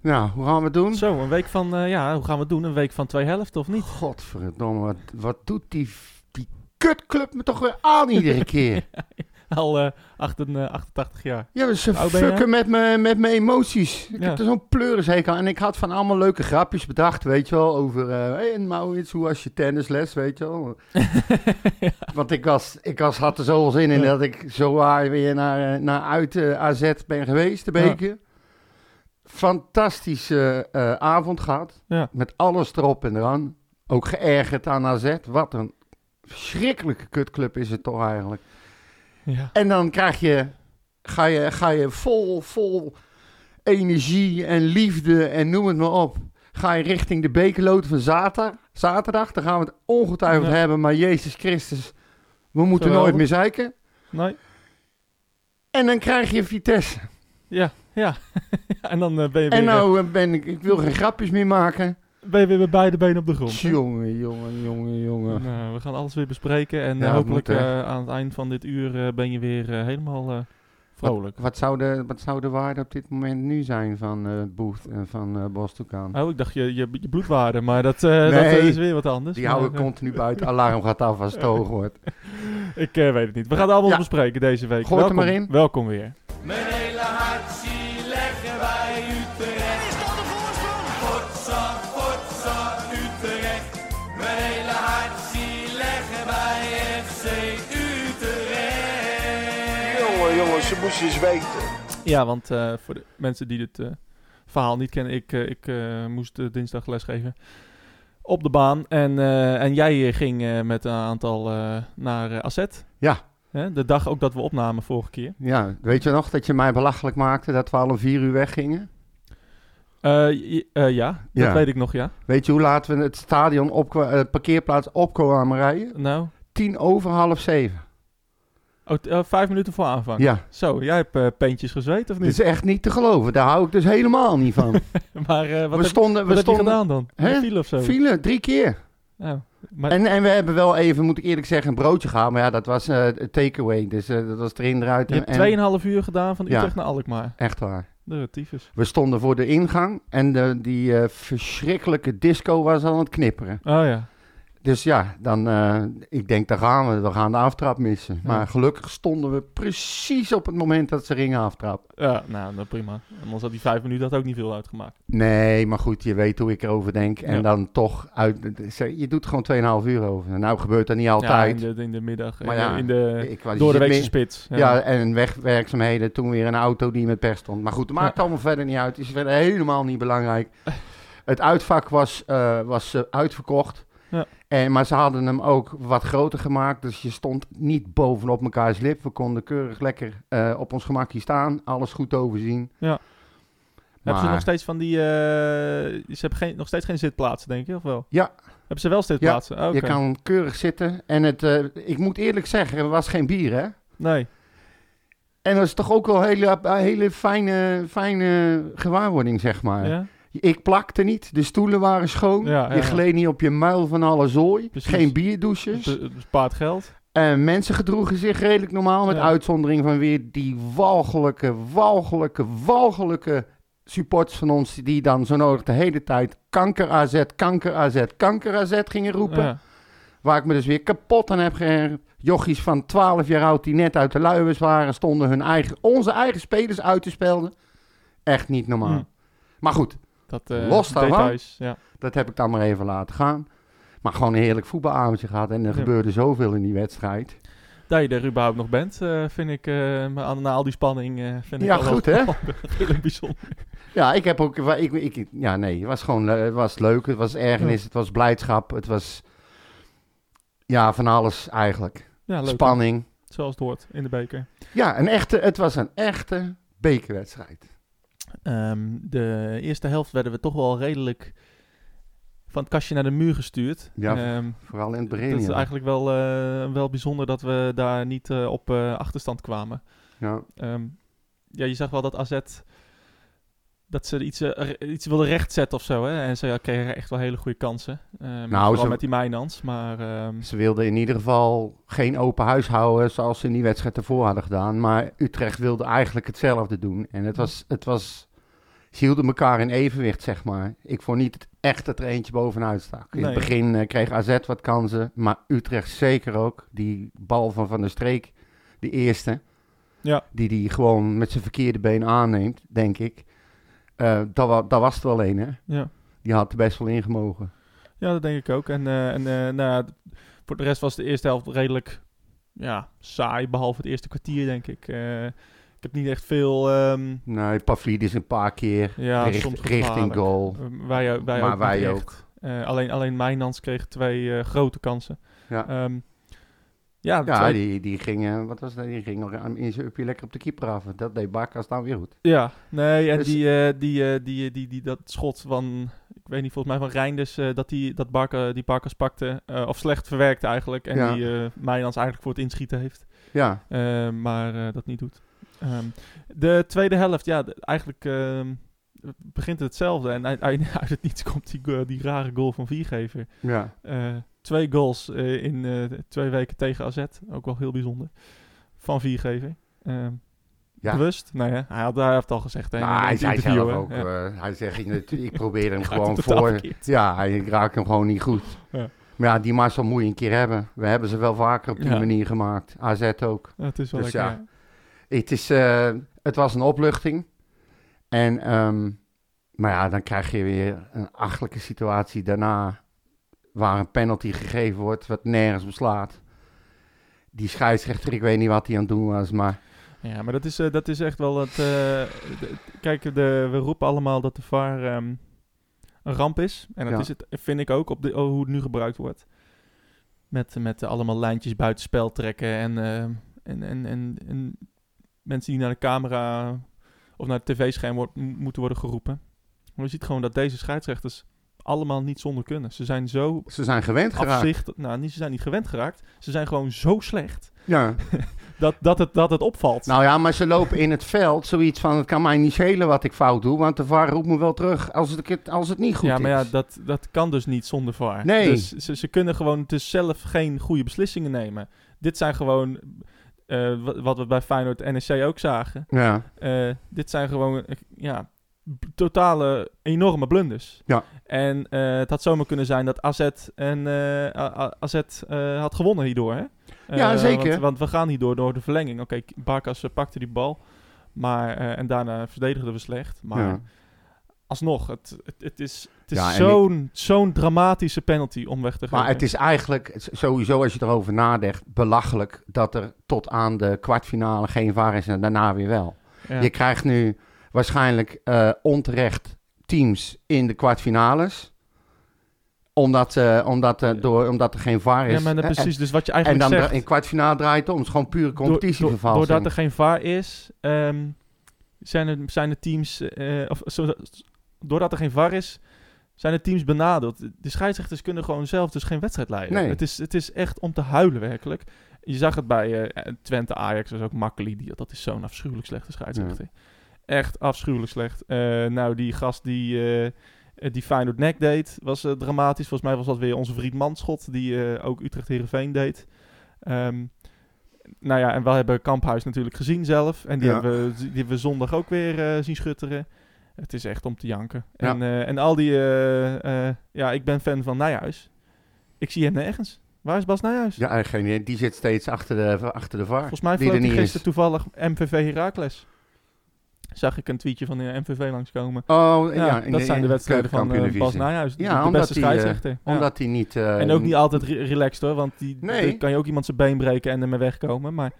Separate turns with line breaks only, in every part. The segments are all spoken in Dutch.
Nou, hoe gaan we het doen?
Zo, een week van, eh, ja, hoe gaan we het doen? Een week van twee helften of niet?
Godverdomme, wat, wat doet die, die kutclub me toch weer aan iedere keer?
Al eh, 88, eh, 88 jaar.
Ja, ze
Hoe oud ben jij?
fucken met, me, met mijn emoties. Ik
Ja.
heb er zo'n pleurishekel aan. En ik had van allemaal leuke grapjes bedacht, weet je wel. Over, eh hey, en Maurits, hoe was je tennisles, weet je wel. Want ik, was, ik was, had er zoveel zin in
Ja.
dat ik zo waar weer naar, eh, naar uit eh, AZ ben geweest, de
Ja.
beker. Fantastische eh, avond gehad.
Ja.
Met alles erop en eraan. Ook geërgerd aan AZ. Wat een verschrikkelijke kutclub is het toch eigenlijk.
Ja.
En dan krijg je, ga je, ga je vol, vol energie en liefde en noem het maar op. Ga je richting de bekerloot van zater, zaterdag. Daar gaan we het ongetwijfeld
Ja.
hebben. Maar Jezus Christus, we moeten
Geweldig.
nooit meer zeiken.
Nee?
En dan krijg je Vitesse.
Ja, ja. ja en dan eh, ben, je weer,
En nou eh, ben ik, ik wil geen grapjes meer maken.
eh, ben je weer met beide benen op de grond. hè?
Jongen, jongen, jongen, jongen.
Nou, we gaan alles weer bespreken en eh,
Ja, het
hopelijk
moet, hè.
eh, aan het eind van dit uur eh, ben je weer eh, helemaal eh, vrolijk.
Wat zou, de, wat zou de waarde op dit moment nu zijn van eh Boef en van eh Bostoekaan?
Oh, ik dacht je, je, je bloedwaarde, maar dat, eh, dat
Nee.
eh, is weer wat anders.
Die houden
Maar,
we
eh,
continu buiten. Alarm gaat af als het hoog wordt.
Ik eh, weet het niet. We gaan het allemaal
Ja.
bespreken deze week.
Gooi het er
welkom,
maar in.
Welkom weer.
Mijn hele hart zie leggen wij Utrecht. Is dat de voorsprong? Potsa, potsa, Utrecht. Mijn hele hart zie leggen wij FC Utrecht.
Jongen, jongen, ze moest eens weten.
Ja, want eh, voor de mensen die dit eh, verhaal niet kennen, ik, eh, ik eh, moest eh, dinsdag lesgeven op de baan. En, eh, en jij eh, ging eh, met een aantal eh, naar eh, Asset.
Ja.
Hè, de dag ook dat we opnamen vorige keer.
Ja, weet je nog dat je mij belachelijk maakte dat we al om vier uur weggingen?
Eh, j- eh, ja, dat
Ja.
weet ik nog, ja.
Weet je hoe laat we het stadion op, eh, parkeerplaats opkwamen rijden?
Nou,
Tien over half zeven.
oh, t- eh, vijf minuten voor aanvang.
Ja,
Zo, jij hebt eh, peentjes gezweet of
dat is
niet?
echt niet te geloven. Daar hou ik dus helemaal niet van.
maar eh, wat,
Dus- we
heb,
stonden,
wat
we
heb je
stonden
gedaan dan?
Hè?
Je viel of zo?
file drie keer.
Nou, maar,
En, en we hebben wel even, moet ik eerlijk zeggen, een broodje gehaald. Maar ja, dat was eh takeaway. Dus eh, dat was erin, eruit.
je
en- en-
hebt 2,5 uur gedaan van
Ja.
Utrecht naar Alkmaar.
Echt waar.
De tyfus.
We stonden voor de ingang en de, die eh, verschrikkelijke disco was aan het knipperen.
Oh ja.
Dus ja, dan, eh, ik denk, daar gaan we. We gaan de aftrap missen.
Ja.
Maar gelukkig stonden we precies op het moment dat ze gingen aftrappen.
Ja, nou, dan prima. Anders had die vijf minuten had ook niet veel uitgemaakt.
Nee, maar goed, je weet hoe ik erover denk. En
Ja.
dan toch, uit, ze- je doet gewoon 2,5 uur over. Nou gebeurt dat niet altijd.
Ja, in, de, in de middag, in
Maar
de-
ja,
in de,
Ik was-
door de
je zit
weekse
meer-
spits. Ja.
Ja, en wegwerkzaamheden. Toen weer een auto die met pers stond. Maar goed, het maakt allemaal verder niet uit. Is verder helemaal niet belangrijk. Het uitvak was, eh, was eh, uitverkocht.
Ja.
En, maar ze hadden hem ook wat groter gemaakt. Dus je stond niet bovenop mekaars lip. We konden keurig lekker eh, op ons gemakje staan. Alles goed overzien.
Ja. Hebben ze
Maar-
nog steeds van die... eh, ze hebben geen, nog steeds geen zitplaatsen, denk je, of wel?
Ja.
Hebben ze wel zitplaatsen? Oh, oké.
Je kan keurig zitten. En het, eh, ik moet eerlijk zeggen, er was geen bier hè.
Nee.
En dat is toch ook wel een hele, een hele fijne, fijne gewaarwording, zeg maar.
Ja?
Ik plakte niet, de stoelen waren schoon.
Ja, ja,
je
ja.
gleed niet op je muil van alle zooi.
Precies.
Geen
Het,
bierdouches.
het bespaart geld.
En mensen gedroegen zich redelijk normaal. Met
Ja.
uitzondering van weer die walgelijke, walgelijke, walgelijke supporters van ons. Die dan zo nodig de hele tijd kanker AZ, kanker AZ, kanker AZ gingen roepen.
Ja.
Waar ik me dus weer kapot aan heb geërgerd. Jochies van 12 jaar oud die net uit de luiers waren, stonden hun eigen, onze eigen spelers uit te spelden. Echt niet normaal.
Hm.
Maar goed,
Dat, eh,
Los daarvan.
details. Ja.
Dat heb ik dan maar even laten gaan. Maar gewoon een heerlijk voetbalavondje gehad. En er
Ja.
gebeurde zoveel in die wedstrijd.
Dat je er überhaupt nog bent, eh, vind ik... eh, maar aan- na al die spanning eh, vind ik
Ja,
al wel-
goed, hè?
Heel bijzonder.
Ja, ik heb ook. wa- Ik, ik, ja, nee. Het was gewoon le- het was leuk. Het was ergernis. Het was blijdschap. Het was. Ja, van alles eigenlijk.
Ja, leuk.
Spanning.
Zoals het hoort in de beker.
Ja, een echte, het was een echte bekerwedstrijd.
Ehm, de eerste helft werden we toch wel redelijk van het kastje naar de muur gestuurd.
Ja,
Ehm,
Vooral in het begin.
dat is
ja.
eigenlijk wel, eh, wel bijzonder dat we daar niet eh, op eh, achterstand kwamen.
Ja.
Ehm, ja, je zag wel dat AZ dat ze iets, eh, re- iets wilden rechtzetten of zo. Hè? En ze ja, kregen echt wel hele goede kansen. Ehm, vooral
Nou, ze-
met die Mijnans. Maar ehm,
Ze wilden in ieder geval geen open huis houden zoals ze in die wedstrijd ervoor hadden gedaan. Maar Utrecht wilde eigenlijk hetzelfde doen. En het was, het was ze hielden elkaar in evenwicht, zeg maar. Ik vond niet echt dat er eentje bovenuit stak. In
Nee.
het begin eh, kreeg AZ wat kansen, maar Utrecht zeker ook. Die bal van Van der Streek, de eerste,
Ja.
die die gewoon met zijn verkeerde been aanneemt, denk ik. Eh dat, wa- dat was er wel een, hè.
Ja.
Die had er best wel ingemogen.
ja, dat denk ik ook. En, eh, en eh, nou, ja, d- voor de rest was de eerste helft redelijk ja, saai, behalve het eerste kwartier, denk ik. Eh, ik heb niet echt veel... ehm,
Nee, Nou, Pavlidis een paar keer
ja,
richt-
soms
richting
gevaarlijk.
goal.
Eh, Wij, wij
maar
ook
wij
niet echt.
ook.
Eh, alleen, alleen Mijnans kreeg twee eh, grote kansen.
Ja.
Ehm, ja,
Ja,
twee-
die, die ging, eh, wat was dat? Die ging al in zijn uppie lekker op de keeper af. Dat deed Barkas dan weer goed.
ja. nee, en
Dus-
die, eh, die, eh, die, die, die, dat schot van, ik weet niet, volgens mij van Reinders, eh, dat, die, dat Barca, die Barkas pakte, eh, of slecht verwerkte eigenlijk, en
Ja.
die eh Mijnans eigenlijk voor het inschieten heeft,
Ja,
Eh, maar eh, dat niet doet. Ehm, de tweede helft, ja, de- eigenlijk ehm, begint het hetzelfde, en uit, uit, uit het niets komt die, go- die rare goal van Viergever.
ja.
Eh, twee goals eh, in eh, twee weken tegen AZ. Ook wel heel bijzonder. Van viergever. Ehm
Ja.
Bewust? Nou ja, hij, had, hij heeft het al gezegd. hè, in
Nou, hij
het
zei
interview,
zelf
hè.
ook.
Ja.
eh, hij zegt, ik, ik probeer hem
Hij
gewoon
doet het totaal
voor.
verkeerd.
Ja, hij raakt hem gewoon niet goed.
Ja.
Maar ja, die Marcel moet je een keer hebben. We hebben ze wel vaker op die
Ja.
manier gemaakt. AZ ook.
Ja, het is wel
Dus
lekker.
ja. Het, is, eh, het was een opluchting. En, ehm, maar ja, dan krijg je weer een achtelijke situatie daarna. Waar een penalty gegeven wordt, wat nergens beslaat. Die scheidsrechter, ik weet niet wat hij aan het doen was. Maar
ja. Ja, maar dat is, eh, dat is echt wel het... eh, de- kijk, de, we roepen allemaal dat de VAR ehm, een ramp is. En dat
Ja.
is het, vind ik ook, op de, oh, hoe het nu gebruikt wordt. Met, met eh, allemaal lijntjes buitenspel trekken en, ehm, en, en, en, en mensen die naar de camera of naar het tv-scherm wordt- m- moeten worden geroepen. Maar je ziet gewoon dat deze scheidsrechters allemaal niet zonder kunnen. Ze zijn zo
ze zijn gewend geraakt.
afzicht... Nou, niet, ze zijn niet gewend geraakt. Ze zijn gewoon zo slecht
Ja.
dat, dat, het, dat het opvalt.
Nou ja, maar ze lopen in het veld zoiets van: het kan mij niet schelen wat ik fout doe, want de VAR roept me wel terug als het, als het niet goed
ja, maar ja,
is.
dat, dat kan dus niet zonder VAR.
Nee.
Dus ze, ze kunnen gewoon dus zelf geen goede beslissingen nemen. Dit zijn gewoon, eh, wat, wat we bij Feyenoord NEC ook zagen.
Ja,
Eh, dit zijn gewoon, eh, ja, b- totale enorme blunders.
Ja.
En eh, het had zomaar kunnen zijn dat AZ, en, eh, A- A- AZ eh, had gewonnen hierdoor, hè?
Ja,
Eh,
zeker.
Want, want we gaan hierdoor door de verlenging. Oké, Barkas eh, pakte die bal. Maar, eh, en daarna verdedigden we slecht. Maar
ja.
alsnog, het, het, het is, het is
Ja, en
zo'n, zo'n dramatische penalty om weg te gaan.
Maar het is eigenlijk s- sowieso, als je erover nadenkt, belachelijk dat er tot aan de kwartfinale geen VAR is en daarna weer wel.
ja.
Je krijgt nu waarschijnlijk eh, onterecht teams in de kwartfinales, omdat, eh, omdat, eh,
Ja.
door, omdat er geen VAR is.
Ja, maar dan
En- en-
precies. Dus wat je
En
eigenlijk
dan
zegt...
in kwartfinale draait het om. Het is gewoon pure
door- door-
competitievervalsing.
doordat er geen VAR is, ehm, zijn, er, zijn er teams... eh, of, zo, doordat er geen VAR is, zijn er teams benadeeld. De scheidsrechters kunnen gewoon zelf dus geen wedstrijd leiden.
Nee.
Het, is, het is echt om te huilen, werkelijk. Je zag het bij eh, Twente Ajax, dat is ook Makkeli. Die, dat is zo'n afschuwelijk slechte scheidsrechter. Echt afschuwelijk slecht. Eh, nou, die gast die... eh, eh, die Feyenoord nek deed, was eh, dramatisch. Volgens mij was dat weer onze vriend Manschot, die eh, ook Utrecht Herenveen deed. Ehm, nou ja, en we hebben Kamphuis natuurlijk gezien zelf. En die,
Ja.
hebben, we, die hebben we zondag ook weer eh, zien schutteren. Het is echt om te janken.
Ja.
En, eh, en al die... eh, eh, ja, ik ben fan van Nijhuis. Ik zie hem nergens. Waar is Bas Nijhuis?
Ja, eigenlijk geen idee. Die zit steeds achter de, achter de VAR.
Volgens mij
die
vloot
er
hij
niet
gisteren
is.
toevallig MVV Herakles. Zag ik een tweetje van de MVV langskomen.
Oh, ja.
Ja,
in
dat zijn de wedstrijden van eh,
keukenkampioendivisie.
Bas Nijhuis.
Ja,
de
omdat
beste
die, eh,
scheidsrechter. Ja.
Omdat hij niet... eh,
En ook niet altijd re- relaxed hoor, want die,
Nee.
dan kan je ook iemand zijn been breken en ermee wegkomen. Maar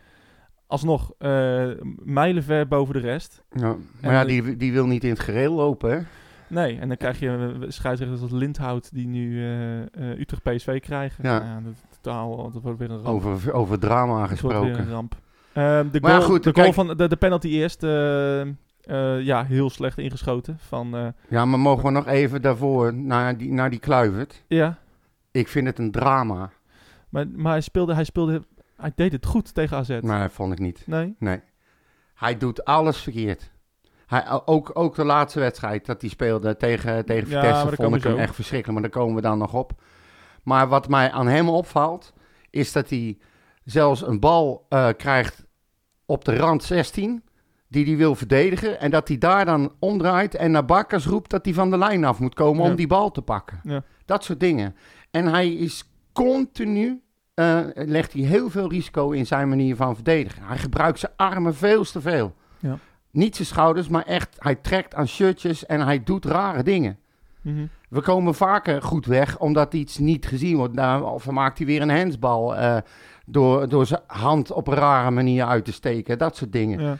alsnog, eh mijlenver boven de rest.
Ja,
En
maar ja,
de-
die, die wil niet in het gereel lopen, hè?
Nee, en dan krijg je eh, scheidsrechters als Lindhout die nu eh, eh, Utrecht PSV krijgen. Nou
Ja.
dat, is totaal, dat wordt weer een ramp.
Over, over drama
Dat wordt weer
gesproken.
een ramp. Ehm, de
Maar ja,
goal,
goed,
de,
kijk-
goal van, de, de penalty eerst, eh, eh, ja, heel slecht ingeschoten. Van, eh,
Ja, maar mogen we nog even daarvoor naar die, naar die kluivert?
ja,
Ik vind het een drama.
maar, maar hij, speelde, hij speelde, hij deed het goed tegen AZ.
Maar dat vond ik niet.
Nee?
Hij doet alles verkeerd. Hij, ook, ook de laatste wedstrijd dat hij speelde tegen, tegen
Ja, maar dus
Vitesse
daar
vond
komen
ik
we
hem
zo.
echt verschrikkelijk. Maar daar komen we dan nog op. Maar wat mij aan hem opvalt, is dat hij zelfs een bal eh, krijgt op de rand 16. die hij wil verdedigen. En dat hij daar dan omdraait en naar Bakkers roept dat hij van de lijn af moet komen
Ja.
om die bal te pakken.
Ja.
Dat soort dingen. En hij is continu, eh, legt hij heel veel risico in zijn manier van verdedigen. Hij gebruikt zijn armen veel te veel.
Ja.
Niet zijn schouders, maar echt, hij trekt aan shirtjes en hij doet rare dingen.
Mhm.
We komen vaker goed weg omdat iets niet gezien wordt. Nou, of dan maakt hij weer een handsbal eh, door, door zijn hand op een rare manier uit te steken. Dat soort dingen.
Ja.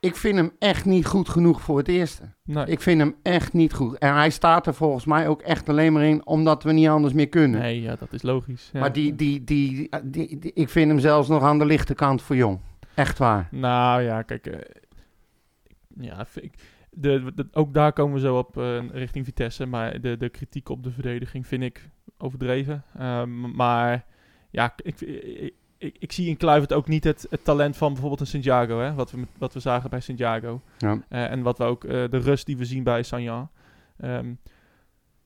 Ik vind hem echt niet goed genoeg voor het eerste.
Nee.
Ik vind hem echt niet goed. En hij staat er volgens mij ook echt alleen maar in omdat we niet anders meer kunnen.
nee, ja, dat is logisch. ja.
Maar die, die, die, die, die- ik vind hem zelfs nog aan de lichte kant voor jong. Echt waar.
Nou ja, kijk. eh, ja, vind ik, de, de- ook daar komen we zo op eh, richting Vitesse. Maar de, de kritiek op de verdediging vind ik overdreven. Ehm, maar ja, ik, eh, ik, ik, ik zie in Kluivert ook niet het, het talent van bijvoorbeeld een Santiago. Hè, wat, we, met- wat we zagen bij Santiago.
Ja.
Eh, en wat we ook, eh, de rust die we zien bij Sanjan. Ehm,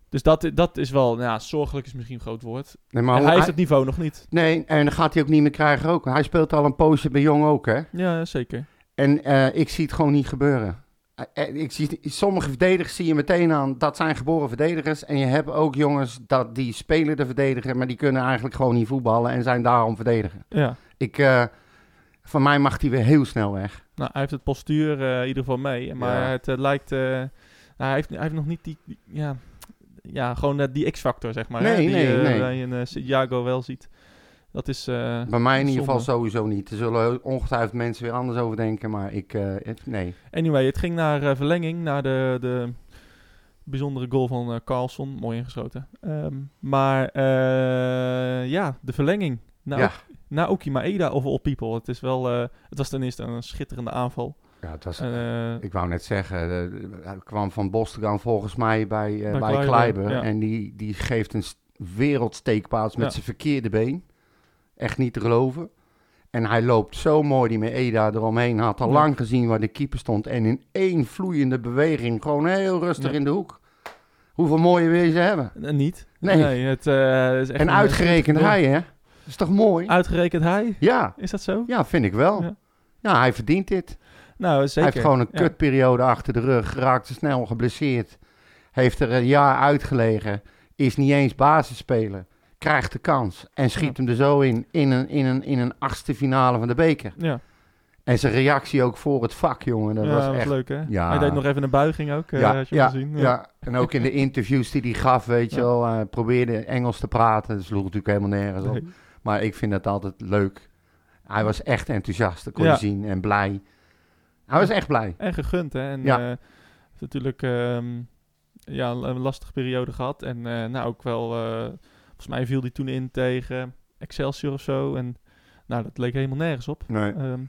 dus dat, i- dat is wel, nou ja, zorgelijk is misschien een groot woord.
Nee,
Maar
maar
hij
hoe-
heeft
hij-
het niveau nog niet.
nee, en dat gaat hij ook niet meer krijgen ook. Hij speelt al een poosje bij jong ook, hè?
Ja, zeker.
En eh, ik zie het gewoon niet gebeuren. Eh, eh, ik zie, sommige verdedigers zie je meteen aan, dat zijn geboren verdedigers. En je hebt ook jongens dat die spelen de verdediger, maar die kunnen eigenlijk gewoon niet voetballen en zijn daarom verdediger.
Ja.
Ik, eh, van mij mag die weer heel snel weg.
Nou, hij heeft het postuur eh, in ieder geval mee. Maar
Ja.
het eh, lijkt. eh, nou, hij, heeft, hij heeft nog niet die. die- ja, ja, gewoon eh, die X-factor, zeg maar. hè,
Nee,
die,
nee,
eh,
nee.
Bij een eh, Santiago wel ziet. Dat is. eh,
Bij mij in ieder geval
zonde.
sowieso niet. Er zullen ongetwijfeld mensen weer anders over denken, maar ik, eh, het- nee.
Anyway, het ging naar eh, verlenging. Naar de, de bijzondere goal van eh, Carlson. Mooi ingeschoten. Ehm, maar eh, ja, de verlenging. Na,
Ja.
Oki- na Oki Maeda of All People. Het, is wel, eh, het was ten eerste een schitterende aanval.
Ja, het was,
Eh,
ik wou net zeggen, eh, hij kwam van Bostegan volgens mij bij, eh
Bij
bij,
Kleiber,
Kleiber.
ja.
En die, die geeft een st- wereldsteekpaas met
Ja.
zijn verkeerde been. Echt niet te geloven. En hij loopt zo mooi die met Eda eromheen. Had al
Ja.
lang gezien waar de keeper stond. En in één vloeiende beweging, gewoon heel rustig
Ja.
in de hoek. Hoeveel mooie wil je ze hebben?
n- eh, niet.
Nee.
het, eh, is echt
en
een-
uitgerekend
Ja.
hij, hè? Dat is toch mooi?
Uitgerekend hij?
Ja,
Is dat zo?
ja vind ik wel.
Ja.
Ja, hij verdient dit.
Nou, zeker.
Hij heeft gewoon een
Ja.
kutperiode achter de rug. Raakte snel geblesseerd. Heeft er een jaar uitgelegen. Is niet eens basisspeler. Krijgt de kans. En schiet hem er zo in. In een, in, een, in een achtste finale van de beker.
Ja,
En zijn reactie ook voor het vak, jongen. Dat
Ja,
was echt...
leuk, hè?
Ja.
Hij deed nog even een buiging ook, eh,
ja,
had je
ja,
gezien.
ja. en ook in de interviews die hij gaf, weet je
Ja.
wel, eh, probeerde Engels te praten. Dat sloeg natuurlijk helemaal nergens op.
Nee.
Maar ik vind dat altijd leuk. Hij was echt enthousiast, dat kon
Ja.
je zien, en blij. Hij was echt blij.
En gegund, hè? En,
Ja.
eh, heeft natuurlijk ehm, ja, een lastige periode gehad. En eh, nou, ook wel... eh, volgens mij viel die toen in tegen Excelsior of zo. En nou, dat leek helemaal nergens op.
Nee.
Ehm,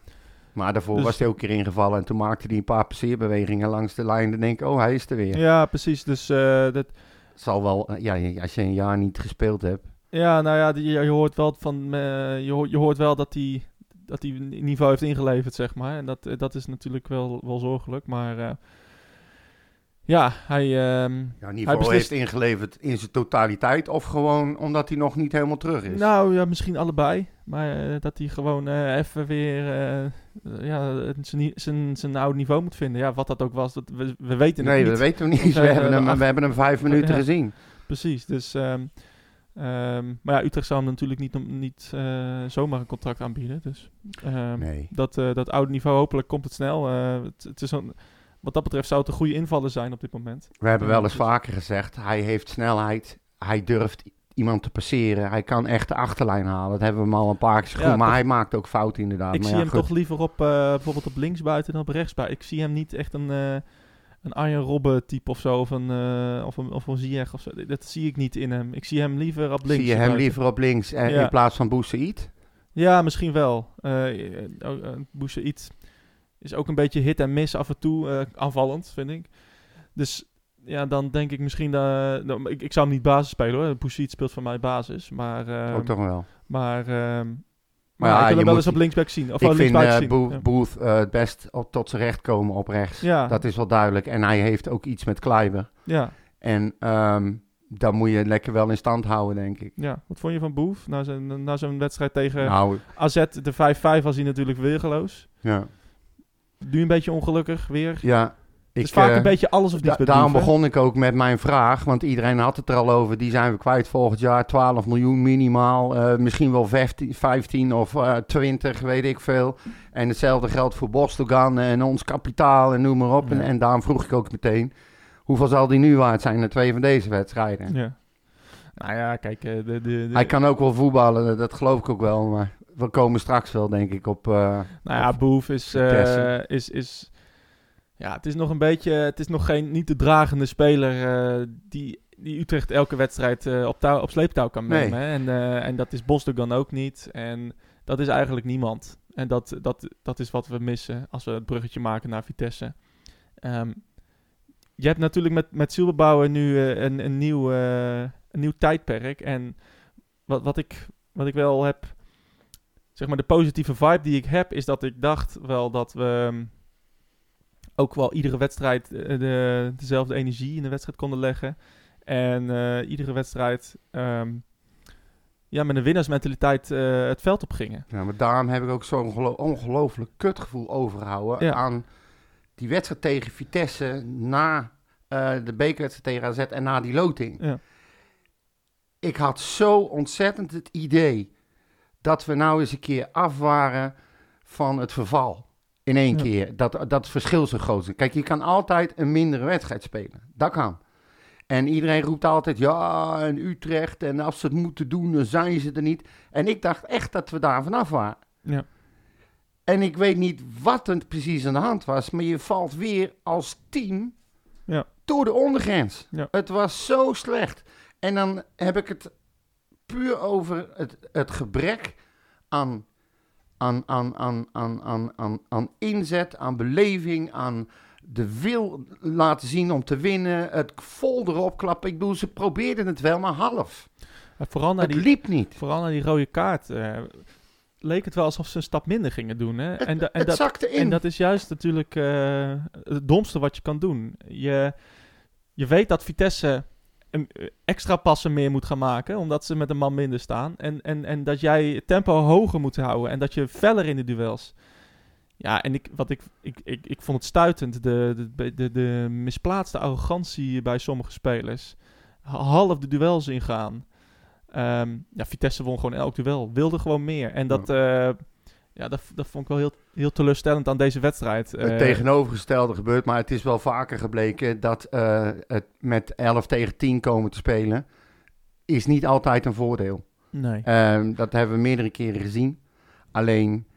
Maar daarvoor
Dus-
was hij ook een keer ingevallen en toen maakte hij een paar passeerbewegingen langs de lijn. Dan denk ik, oh, hij is er weer.
ja. precies. Dus eh, dat,
Zal wel, eh, ja, ja, als je een jaar niet gespeeld hebt.
Ja, nou ja, die- je, je hoort wel van eh, je, hoort, je hoort wel dat hij dat die een niveau heeft ingeleverd, zeg maar. En dat, eh, dat is natuurlijk wel, wel zorgelijk. Maar eh, ja, hij. ehm,
Ja, in ieder
Hij
geval
beslist-
heeft ingeleverd in zijn totaliteit of gewoon omdat hij nog niet helemaal terug is.
nou ja, misschien allebei. Maar eh, dat hij gewoon eh, even weer eh, ja, het- zijn nie- zijn- zijn oude niveau moet vinden. Ja, wat dat ook was, dat, we, we weten het
nee,
niet.
dat weten we niet. We,
eh,
hebben,
de
hem,
acht-
we hebben hem vijf minuten
Ja.
gezien.
Precies, dus... ehm, ehm, maar ja, Utrecht zou hem natuurlijk niet, niet eh, zomaar een contract aanbieden. Dus, ehm,
Nee.
dat, eh, dat oude niveau, hopelijk komt het snel. Eh, het, het is een, wat dat betreft zou het een goede invaller zijn op dit moment.
We hebben wel eens
Dus-
vaker gezegd, hij heeft snelheid. Hij durft i- iemand te passeren. Hij kan echt de achterlijn halen. Dat hebben we hem al een paar keer gezien.
Ja,
maar
toch-
hij maakt ook fouten inderdaad. Ah,
ik
maar
zie
ja,
hem
goed.
toch liever op eh, bijvoorbeeld op linksbuiten dan op rechtsbuiten. Ik zie hem niet echt een, eh een Arjen Robben type of zo, of een, eh, of een, of een Ziyech of zo. Dat zie ik niet in hem. Ik zie hem liever op links.
Zie je hem
buiten.
liever op links eh,
Ja.
in plaats van Boussaïd?
Ja, misschien wel. Eh eh, oh, eh, Boussaïd is ook een beetje hit en miss af en toe. eh, aanvallend, vind ik. Dus ja, dan denk ik misschien... dat nou, ik, ik zou hem niet basis spelen hoor. Boussaïd speelt voor mij basis. Maar, ehm,
ook Oh, toch wel.
maar, ehm, maar,
ja,
ja, ik wil
je
hem wel
moet-
eens op linksback zien. Of
ik
wel
vind
linksbuiten
eh,
zien.
Bo-
Ja.
Booth eh, het best op, tot zijn recht komen op rechts.
Ja.
Dat is wel duidelijk. En hij heeft ook iets met Kleiber.
ja,
En ehm dat moet je lekker wel in stand houden, denk ik.
ja. Wat vond je van Boef? Na zijn, na zijn wedstrijd tegen
nou,
AZ, de 5-5 was hij natuurlijk weergeloos.
ja.
Nu een beetje ongelukkig weer.
Ja,
het
ik,
is vaak
eh,
een beetje alles of
da-
niets bij
daarom
Doef, hè?
begon ik ook met mijn vraag, want iedereen had het er al over. Die zijn we kwijt volgend jaar, 12 miljoen minimaal. eh, misschien wel 15, 15 of eh 20, weet ik veel. En hetzelfde geldt voor Bostogan en ons kapitaal en noem maar op. En,
Ja.
en daarom vroeg ik ook meteen, hoeveel zal die nu waard zijn na twee van deze wedstrijden?
Ja. Nou ja, kijk, eh, de, de, de-
Hij kan ook wel voetballen, dat geloof ik ook wel. Maar we komen straks wel, denk ik, op... eh,
nou ja, Boef is, eh,
Vitesse.
is, is... Ja, het is nog een beetje... Het is nog geen, niet de dragende speler eh, die, die Utrecht elke wedstrijd eh, op, touw, op sleeptouw kan
Nee.
nemen. hè. En, eh, en dat is Bosdogan ook niet. En dat is eigenlijk niemand. En dat, dat, dat is wat we missen als we het bruggetje maken naar Vitesse. Ehm, je hebt natuurlijk met, met Silberbouwer nu eh, een, een, nieuw, eh, een nieuw tijdperk. En wat, wat, ik, wat ik wel heb zeg maar, de positieve vibe die ik heb, is dat ik dacht wel dat we ehm, ook wel iedere wedstrijd eh, de, dezelfde energie in de wedstrijd konden leggen. En eh, iedere wedstrijd ehm, ja, met een winnaarsmentaliteit eh, het veld op gingen.
Ja, maar daarom heb ik ook zo'n gelo- ongelooflijk kutgevoel overgehouden
Ja.
aan die wedstrijd tegen Vitesse na eh, de bekerwedstrijd tegen AZ en na die loting.
Ja.
Ik had zo ontzettend het idee dat we nou eens een keer af waren van het verval. In één
Ja.
keer. Dat, dat het verschil zo groot is. Kijk, je kan altijd een mindere wedstrijd spelen. Dat kan. En iedereen roept altijd, ja, en Utrecht. En als ze het moeten doen, dan zijn ze er niet. En ik dacht echt dat we daar vanaf waren.
Ja.
En ik weet niet wat er precies aan de hand was, maar je valt weer als team
Ja.
door de ondergrens.
Ja.
Het was zo slecht. En dan heb ik het puur over het, het gebrek aan, aan, aan, aan, aan, aan, aan, aan inzet, aan beleving, aan de wil laten zien om te winnen, het vol erop klappen. Ik bedoel, ze probeerden het wel, maar half.
Maar vooral naar
het
Nou, die,
liep niet.
vooral naar die rode kaart eh, leek het wel alsof ze een stap minder gingen doen. Hè?
Het,
en da- en
het
dat,
zakte in.
En dat is juist natuurlijk eh, het domste wat je kan doen. Je, je weet dat Vitesse een eh, extra passen meer moet gaan maken, omdat ze met een man minder staan. En, en, en dat jij het tempo hoger moet houden en dat je feller in de duels. Ja, en ik, wat ik, ik, ik, ik vond het stuitend, de, de, de, de misplaatste arrogantie bij sommige spelers. Half de duels ingaan. Ehm, ja, Vitesse won gewoon elk duel, wilde gewoon meer. En dat, eh, ja, dat, dat vond ik wel heel, heel teleurstellend aan deze wedstrijd.
Het
Eh,
tegenovergestelde gebeurt, maar het is wel vaker gebleken dat eh, het met 11 tegen 10 komen te spelen, is niet altijd een voordeel.
Nee.
Ehm, dat hebben we meerdere keren gezien. Alleen,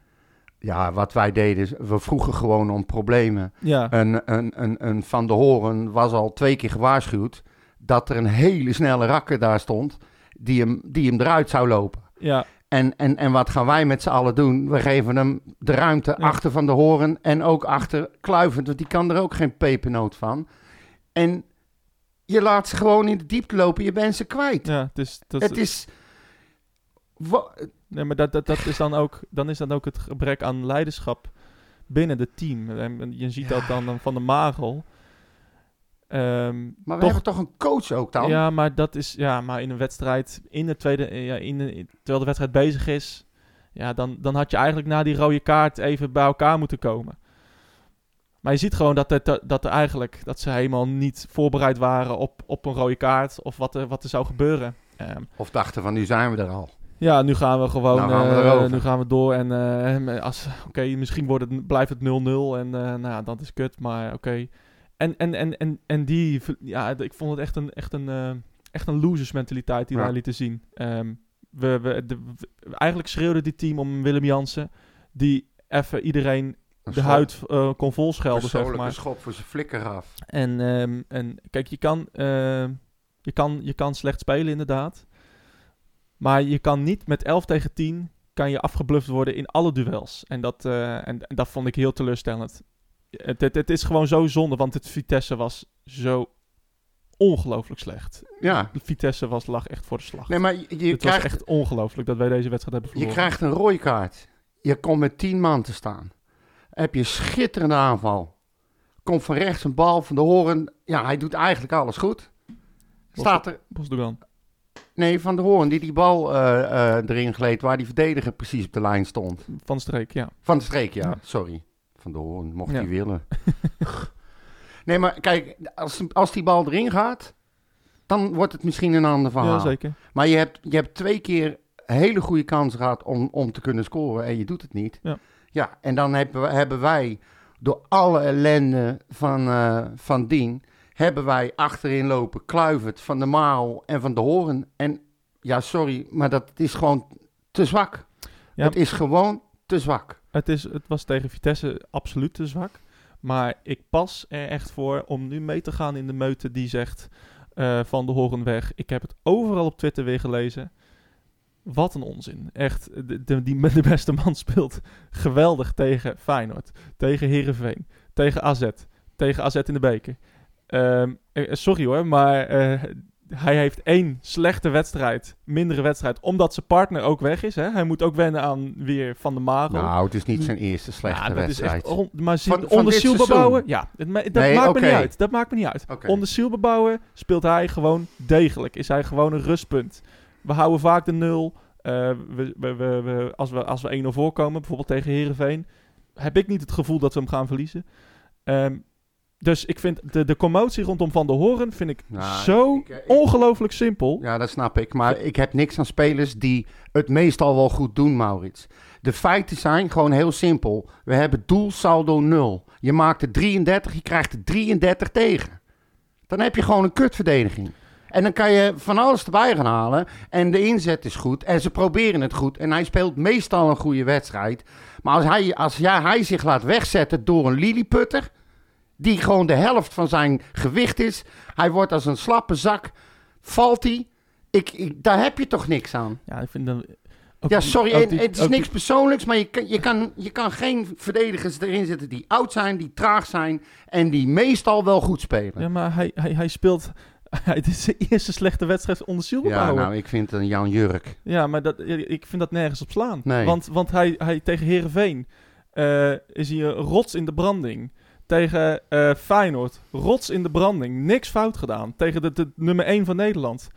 ja, wat wij deden, is, we vroegen gewoon om problemen.
ja.
Een, een, een, een Van de Horen was al twee keer gewaarschuwd dat er een hele snelle rakker daar stond die hem, die hem eruit zou lopen.
ja.
En, en, en wat gaan wij met z'n allen doen? We geven hem de ruimte
Ja.
achter Van de Horen en ook achter Kluivert, want die kan er ook geen pepernoot van. En je laat ze gewoon in de diepte lopen, je bent ze kwijt.
Ja, het is, dat,
het is... wa-
nee, maar dat, dat, dat is dan ook, dan is dan ook het gebrek aan leiderschap binnen het team. En- en Je ziet dat dan van de Magel. Ehm,
maar we
Toch-
hebben toch een coach ook dan?
Ja, maar dat is ja, maar in een wedstrijd in de tweede, eh, ja, in de, in- terwijl de wedstrijd bezig is, ja, dan, dan had je eigenlijk na die rode kaart even bij elkaar moeten komen. Maar je ziet gewoon dat, er- dat, dat er eigenlijk dat ze helemaal niet voorbereid waren op, op een rode kaart of wat er, wat er zou gebeuren. Ehm,
Of dachten van, nu zijn we er al.
ja, nu gaan we gewoon
Nou gaan we
eh,
erover.
nu gaan we door. En eh, als, oké, misschien wordt het, blijft het 0-0. En eh, nou ja, dat is kut, maar oké. En, en, en, en, en die, ja, ik vond het echt een, echt een, eh, echt een losers mentaliteit die
Ja.
wij lieten zien. Ehm, we, we, de- we- eigenlijk schreeuwde dit team om Willem Jansen, die even iedereen
Een
de
schop-
huid eh, kon volschelden, zeg
persoonlijke
maar.
schop voor zijn flikker af.
En, ehm, en kijk, je kan, ehm, je, kan, je kan slecht spelen inderdaad. Maar je kan niet met 11 tegen 10 kan je afgebluft worden in alle duels. En dat, eh, en, en dat vond ik heel teleurstellend. Het, het, het is gewoon zo zonde, want het Vitesse was zo ongelooflijk slecht.
Ja,
Vitesse was, lag echt voor de slag.
nee, maar je, je
het was
krijgt,
echt ongelooflijk dat wij deze wedstrijd hebben
je
verloren.
krijgt een rode kaart. Je komt met tien man te staan. Heb je een schitterende aanval. Komt van rechts een bal van de horen. Ja, hij doet eigenlijk alles goed. Staat er...
Bosdogan.
Nee, van de horen die die bal eh, eh, erin gleed... waar die verdediger precies op de lijn stond.
Van Streek, ja.
Van de streek, ja.
Ja.
Sorry. van de Hoorn, mocht
Ja.
hij willen. nee, maar kijk, als, als die bal erin gaat, dan wordt het misschien een ander verhaal.
Ja, zeker.
Maar je hebt, je hebt twee keer een hele goede kans gehad om, om te kunnen scoren en je doet het niet.
Ja.
ja en dan hebben, we- hebben wij door alle ellende van, eh, van Dien, hebben wij achterin lopen Kluivert, Van der Maal en Van de Horen. En ja, sorry, maar dat is gewoon te zwak.
Ja.
Het is gewoon te zwak.
Het, is, het was tegen Vitesse absoluut te zwak. Maar ik pas er echt voor om nu mee te gaan in de meute die zegt eh, van de Horenweg. Ik heb het overal op Twitter weer gelezen. Wat een onzin. Echt, de, de, die, de beste man speelt geweldig tegen Feyenoord. Tegen Herenveen. Tegen AZ. Tegen AZ in de beker. Ehm, eh, sorry hoor, maar eh, hij heeft één slechte wedstrijd. Mindere wedstrijd. Omdat zijn partner ook weg is. Hè? Hij moet ook wennen aan weer Van de Marel.
Nou, het is niet zijn eerste slechte
Ja, Hm. Nou, dat
wedstrijd.
Is echt on- maar ziel-
Van- van
onder
dit
Silberbouwer-
seizoen?
ja, het ma- dat
Nee,
maakt
oké.
me niet uit. Dat maakt me niet uit.
Oké.
Onder Silberbouwer speelt hij gewoon degelijk. Is hij gewoon een rustpunt. We houden vaak de nul. Eh, we, we, we, we- als we, als we 1-0 voorkomen, bijvoorbeeld tegen Herenveen, heb ik niet het gevoel dat we hem gaan verliezen. Ehm, dus ik vind de, de commotie rondom Van der Horen vind ik
Nou,
zo
ik- ik- ik-
ongelooflijk simpel.
Ja, dat snap ik. Maar ik heb niks aan spelers die het meestal wel goed doen, Maurits. De feiten zijn gewoon heel simpel. We hebben doelsaldo 0. Je maakt er 33, je krijgt er 33 tegen. Dan heb je gewoon een kutverdediging. En dan kan je van alles erbij gaan halen. En de inzet is goed. En ze proberen het goed. En hij speelt meestal een goede wedstrijd. Maar als hij, als ja, hij zich laat wegzetten door een lilliputter... die gewoon de helft van zijn gewicht is... hij wordt als een slappe zak... valt hij... Ik, ik- daar heb je toch niks aan?
Ja, ik vind dan. ook
ja,
die-
sorry,
ook
en
die-
het is
ook die-
niks persoonlijks, maar je kan, je, kan, je kan geen verdedigers erin zetten die oud zijn, die traag zijn en die meestal wel goed spelen.
Ja, maar hij, hij, hij speelt. Het is zijn eerste slechte wedstrijd onder
Ja,
Silberbouwer.
nou, ik vind een Jan Jurk.
Ja, maar dat, ik vind dat nergens op slaan.
Nee.
Want, want hij, hij tegen Herenveen is hij een rots in de branding. Tegen eh, Feyenoord, rots in de branding. Niks fout gedaan. Tegen de, de nummer 1 van Nederland.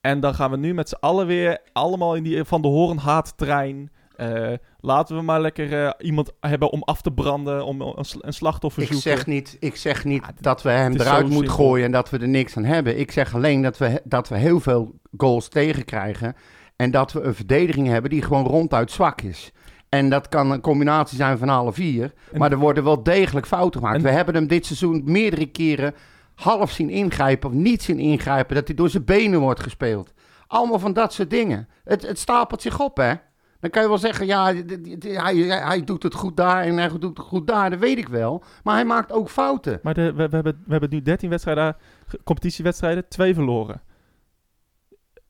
En dan gaan we nu met z'n allen weer allemaal in die Van de Horen haattrein. Eh, laten we maar lekker eh, iemand hebben om af te branden, om een, sl- een slachtoffer
Ik
zoeken.
zeg niet, ik zeg niet
Ah, dit-
dat we hem
het is
eruit
zo
moeten
simpel.
gooien en dat we er niks aan hebben. Ik zeg alleen dat we, dat we heel veel goals tegenkrijgen en dat we een verdediging hebben die gewoon ronduit zwak is. En dat kan een combinatie zijn van alle vier.
En-
maar er worden wel degelijk fouten gemaakt.
En-
we hebben hem dit seizoen meerdere keren half zien ingrijpen of niet zien ingrijpen. Dat hij door zijn benen wordt gespeeld. Allemaal van dat soort dingen. Het, het stapelt zich op, hè? Dan kan je wel zeggen, ja, d- d- d- hij, hij doet het goed daar en hij doet het goed daar. Dat weet ik wel. Maar hij maakt ook fouten.
Maar de, we, we hebben, we hebben nu 13 wedstrijden, ah, ge- competitiewedstrijden, twee verloren.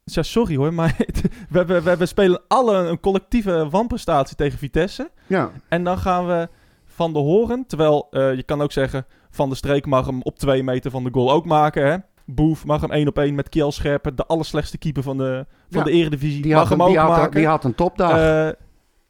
Ja, sorry hoor, maar we, hebben- we, we spelen alle een collectieve wanprestatie tegen Vitesse.
Ja.
En dan gaan we van de horen. Terwijl eh, je kan ook zeggen: Van de Streek mag hem op twee meter van de goal ook maken. Hè? Boef mag hem één op één met Kiel Scherpen, de allerslechtste keeper van de, van
Ja,
de Eredivisie.
Die,
mag
had
hem
een,
ook
die, had,
maken.
een- die had een topdag.
Eh,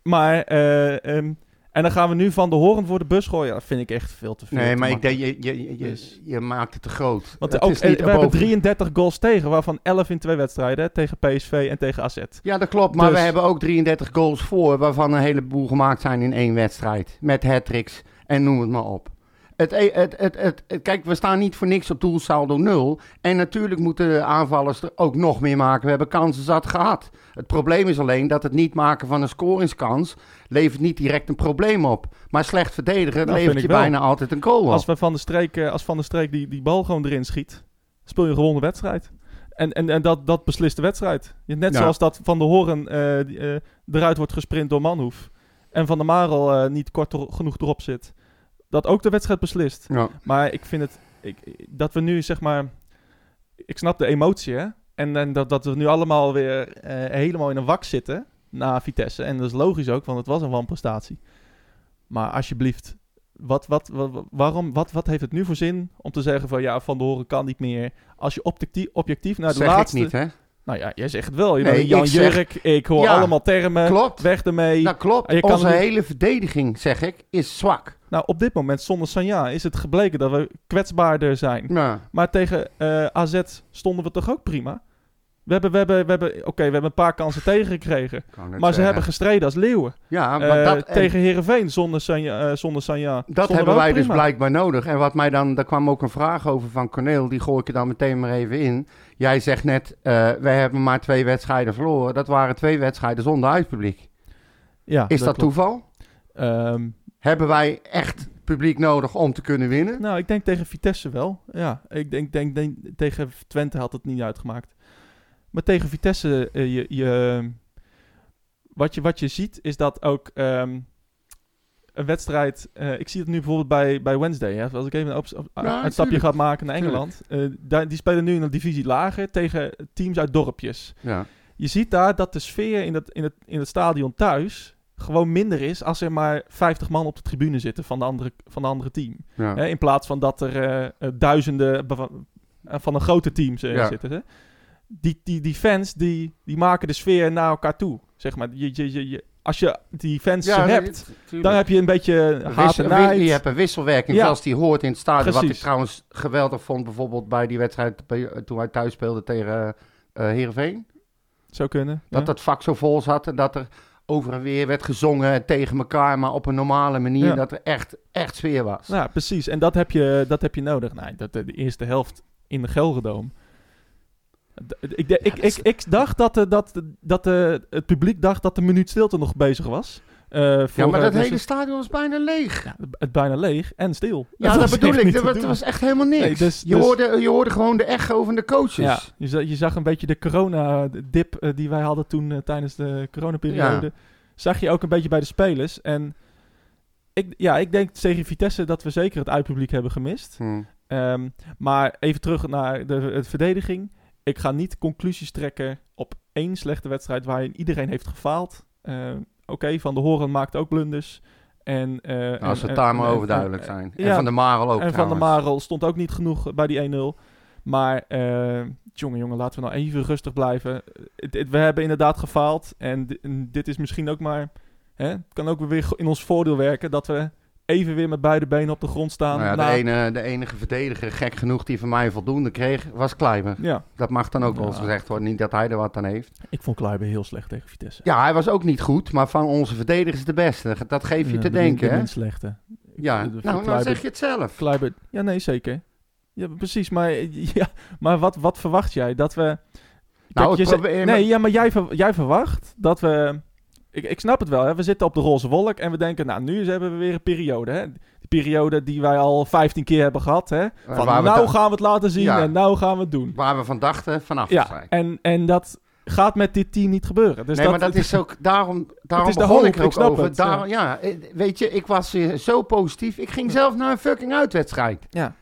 maar, eh, ehm, en dan gaan we nu van de horen voor de bus gooien. Dat vind ik echt veel te veel.
nee,
te
maar ik
makkelijk.
denk, je, je, je, je,
Dus.
je maakt het te groot.
Want
Het
ook,
is
eh,
niet
we hebben
erboven.
33 goals tegen, waarvan 11 in twee wedstrijden. hè, Tegen PSV en tegen AZ.
Ja, dat klopt. Maar
Dus-
we hebben ook 33 goals voor, waarvan een heleboel gemaakt zijn in één wedstrijd. Met hat-tricks en noem het maar op. Het, e- het, het, het, het- kijk, we staan niet voor niks op doelsaldo 0. En natuurlijk moeten de aanvallers er ook nog meer maken. We hebben kansen zat gehad. Het probleem is alleen dat het niet maken van een scoringskans levert niet direct een probleem op. Maar slecht verdedigen
Nou,
levert
vind
je
ik wel.
bijna altijd een goal op.
Als, we van de streek, eh, als Van der Streek die, die bal gewoon erin schiet, speel je een gewonnen wedstrijd. En, en, en dat, dat beslist de wedstrijd. Je- Net
Ja.
zoals dat Van de Horen eh, die, eh, eruit wordt gesprint door Manhoef. En Van der Marel eh, niet kort er- genoeg erop zit. Dat ook de wedstrijd beslist.
Ja.
Maar ik vind het... Ik, dat we nu, zeg maar... Ik snap de emotie, hè? En, en dat, dat we nu allemaal weer eh, helemaal in een wak zitten na Vitesse. En dat is logisch ook, want het was een wanprestatie. Maar alsjeblieft, wat, wat, wa- wa- waarom, wat, wat heeft het nu voor zin om te zeggen van... Ja, Van de Horen kan niet meer. Als je objectief, objectief naar de
zeg
laatste...
ik niet, hè?
Nou ja, jij zegt het wel. Je
Nee,
bent Jan
ik zeg-
Jurk, ik hoor
Ja,
allemaal termen.
klopt. Nou-
Weg ermee.
Dat klopt.
En Eh, je kan
Onze
het niet-
hele verdediging, zeg ik, is zwak.
Nou, op dit moment zonder Sanja is het gebleken dat we kwetsbaarder zijn.
Ja.
Maar tegen eh, AZ stonden we toch ook prima? We hebben, we hebben, we hebben, oké, we hebben een paar kansen tegengekregen. Maar ze hebben gestreden als leeuwen.
Ja, eh, Ah, maar
Eh,
dat, en
tegen Herenveen zonder Sanja. eh, zonder Sanja
dat
Stonden
hebben
we ook
wij dus
prima.
blijkbaar nodig. En wat mij dan, daar kwam ook een vraag over van Corneel, die gooi ik er dan meteen maar even in. Jij zegt net, eh, wij hebben maar twee wedstrijden verloren. Dat waren twee wedstrijden zonder uitpubliek.
Ja,
Is dat,
klopt.
toeval?
Ehm,
Hebben wij echt publiek nodig om te kunnen winnen?
nou, ik denk tegen Vitesse wel. Ja, ik denk, denk, denk tegen Twente had het niet uitgemaakt. Maar tegen Vitesse, eh, je, je, wat, je, wat je ziet, is dat ook ehm, een wedstrijd. eh, ik zie het nu bijvoorbeeld bij, bij Wednesday. Hè? Als ik even een ops- op-
Ja,
uitstapje
tuurlijk.
ga maken naar Engeland. eh, daar, die spelen nu in een divisie lager tegen teams uit dorpjes.
Ja.
je ziet daar dat de sfeer in het, in het, in het stadion thuis gewoon minder is als er maar 50 man op de tribune zitten van de andere, van de andere team.
Ja.
Hè, in plaats van dat er eh, eh, duizenden beva- eh, van een grote team eh,
Ja.
zitten. Hè? Die, die, die fans die, die maken de sfeer naar elkaar toe. Zeg maar. je, je, je, je- als je die fans
Ja, nee,
hebt,
tuurlijk.
dan heb je een beetje
Een
haat
wissel-
en
wi-
nijd.
Je hebt een wisselwerking
Ja.
zoals die hoort in het stadion. Wat ik
Precies.
trouwens geweldig vond bijvoorbeeld bij die wedstrijd bij- toen wij thuis speelden tegen eh Heerenveen.
Zou kunnen.
Dat
ja.
dat vak zo vol zat en dat er over en weer werd gezongen tegen elkaar, maar op een normale manier.
Ja.
Dat er echt, echt sfeer was.
Ja, precies. En dat heb je, dat heb je nodig. Nee, dat, eh, de eerste helft in de Gelredome. D- Ik, de- ik,
dat
ik,
is-
ik dacht dat, de- dat, de- dat de- het publiek dacht dat de minuut stilte nog bezig was. Eh, voor,
ja, maar
eh,
dat
dus
hele
het-
stadion was bijna leeg.
ja, het bijna leeg en stil.
Ja,
was
dat,
echt
bedoel ik.
niet te
Dat, dat
doen.
was echt helemaal niks.
Nee, dus-
je,
dus-
hoorde, je hoorde gewoon de echo van de coaches.
Ja, je, za- je zag een beetje de corona-dip eh, die wij hadden toen eh, tijdens de coronaperiode. Zag je ook een beetje bij de spelers. En ik, ja, ik denk tegen Vitesse dat we zeker het uitpubliek hebben gemist.
Hm.
Ehm, maar even terug naar de, de verdediging. Ik ga niet conclusies trekken op één slechte wedstrijd waarin iedereen heeft gefaald. Ehm, Oké, Van de Horen maakt ook blunders. En, eh, en-
Nou, Als we
en-
het daar maar
en-
over duidelijk
en-
zijn.
ja.
En Van der Marel ook
En Van der
trouwens.
Marel stond ook niet genoeg bij die 1-0. Maar, eh jongen, jongen, laten we nou even rustig blijven. Het- het- we hebben inderdaad gefaald. En, di- en dit is misschien ook maar... Hè, het kan ook weer in ons voordeel werken dat we even weer met beide benen op de grond staan.
Nou ja,
na-
de, ene, de enige verdediger, gek genoeg, die van mij voldoende kreeg, was Kleiber.
ja.
Dat mag dan ook wel eens
Ja.
gezegd worden. Niet dat hij er wat aan heeft.
Ik vond Kluiber heel slecht tegen Vitesse.
Ja, hij was ook niet goed, maar van onze verdedigers de beste. Dat geeft je
Ja,
te
Eh, de min-
denken,
de
hè?
min slechte.
Ja,
Ik- de-
nou,
de-
nou
Kluivert-
zeg je het zelf.
Kluivert- ja, nee, zeker. Ja, precies. Maar, ja, maar wat, wat verwacht jij? Dat we...
Nou,
Kijk,
het
je ze-
probleem-
nee, ja, maar jij, ver- jij verwacht dat we... Ik, ik snap het wel, hè. We zitten op de roze wolk en we denken... Nou, nu is- hebben we weer een periode, hè. Die periode die wij al 15 keer hebben gehad, hè. Van
waar we
nou
da-
gaan we het laten zien
Ja.
en nou gaan we het doen.
Waar we van dachten, vanaf te
Ja,
zijn.
en, en dat gaat met dit team niet gebeuren. Dus
nee, maar dat is ook, daarom, daarom
is de
begon
hoop,
ik er ook
ik snap
over.
het,
daarom, ja. eh, weet je, ik was eh, zo positief. Ik ging zelf naar een fucking uitwedstrijd.
Ja,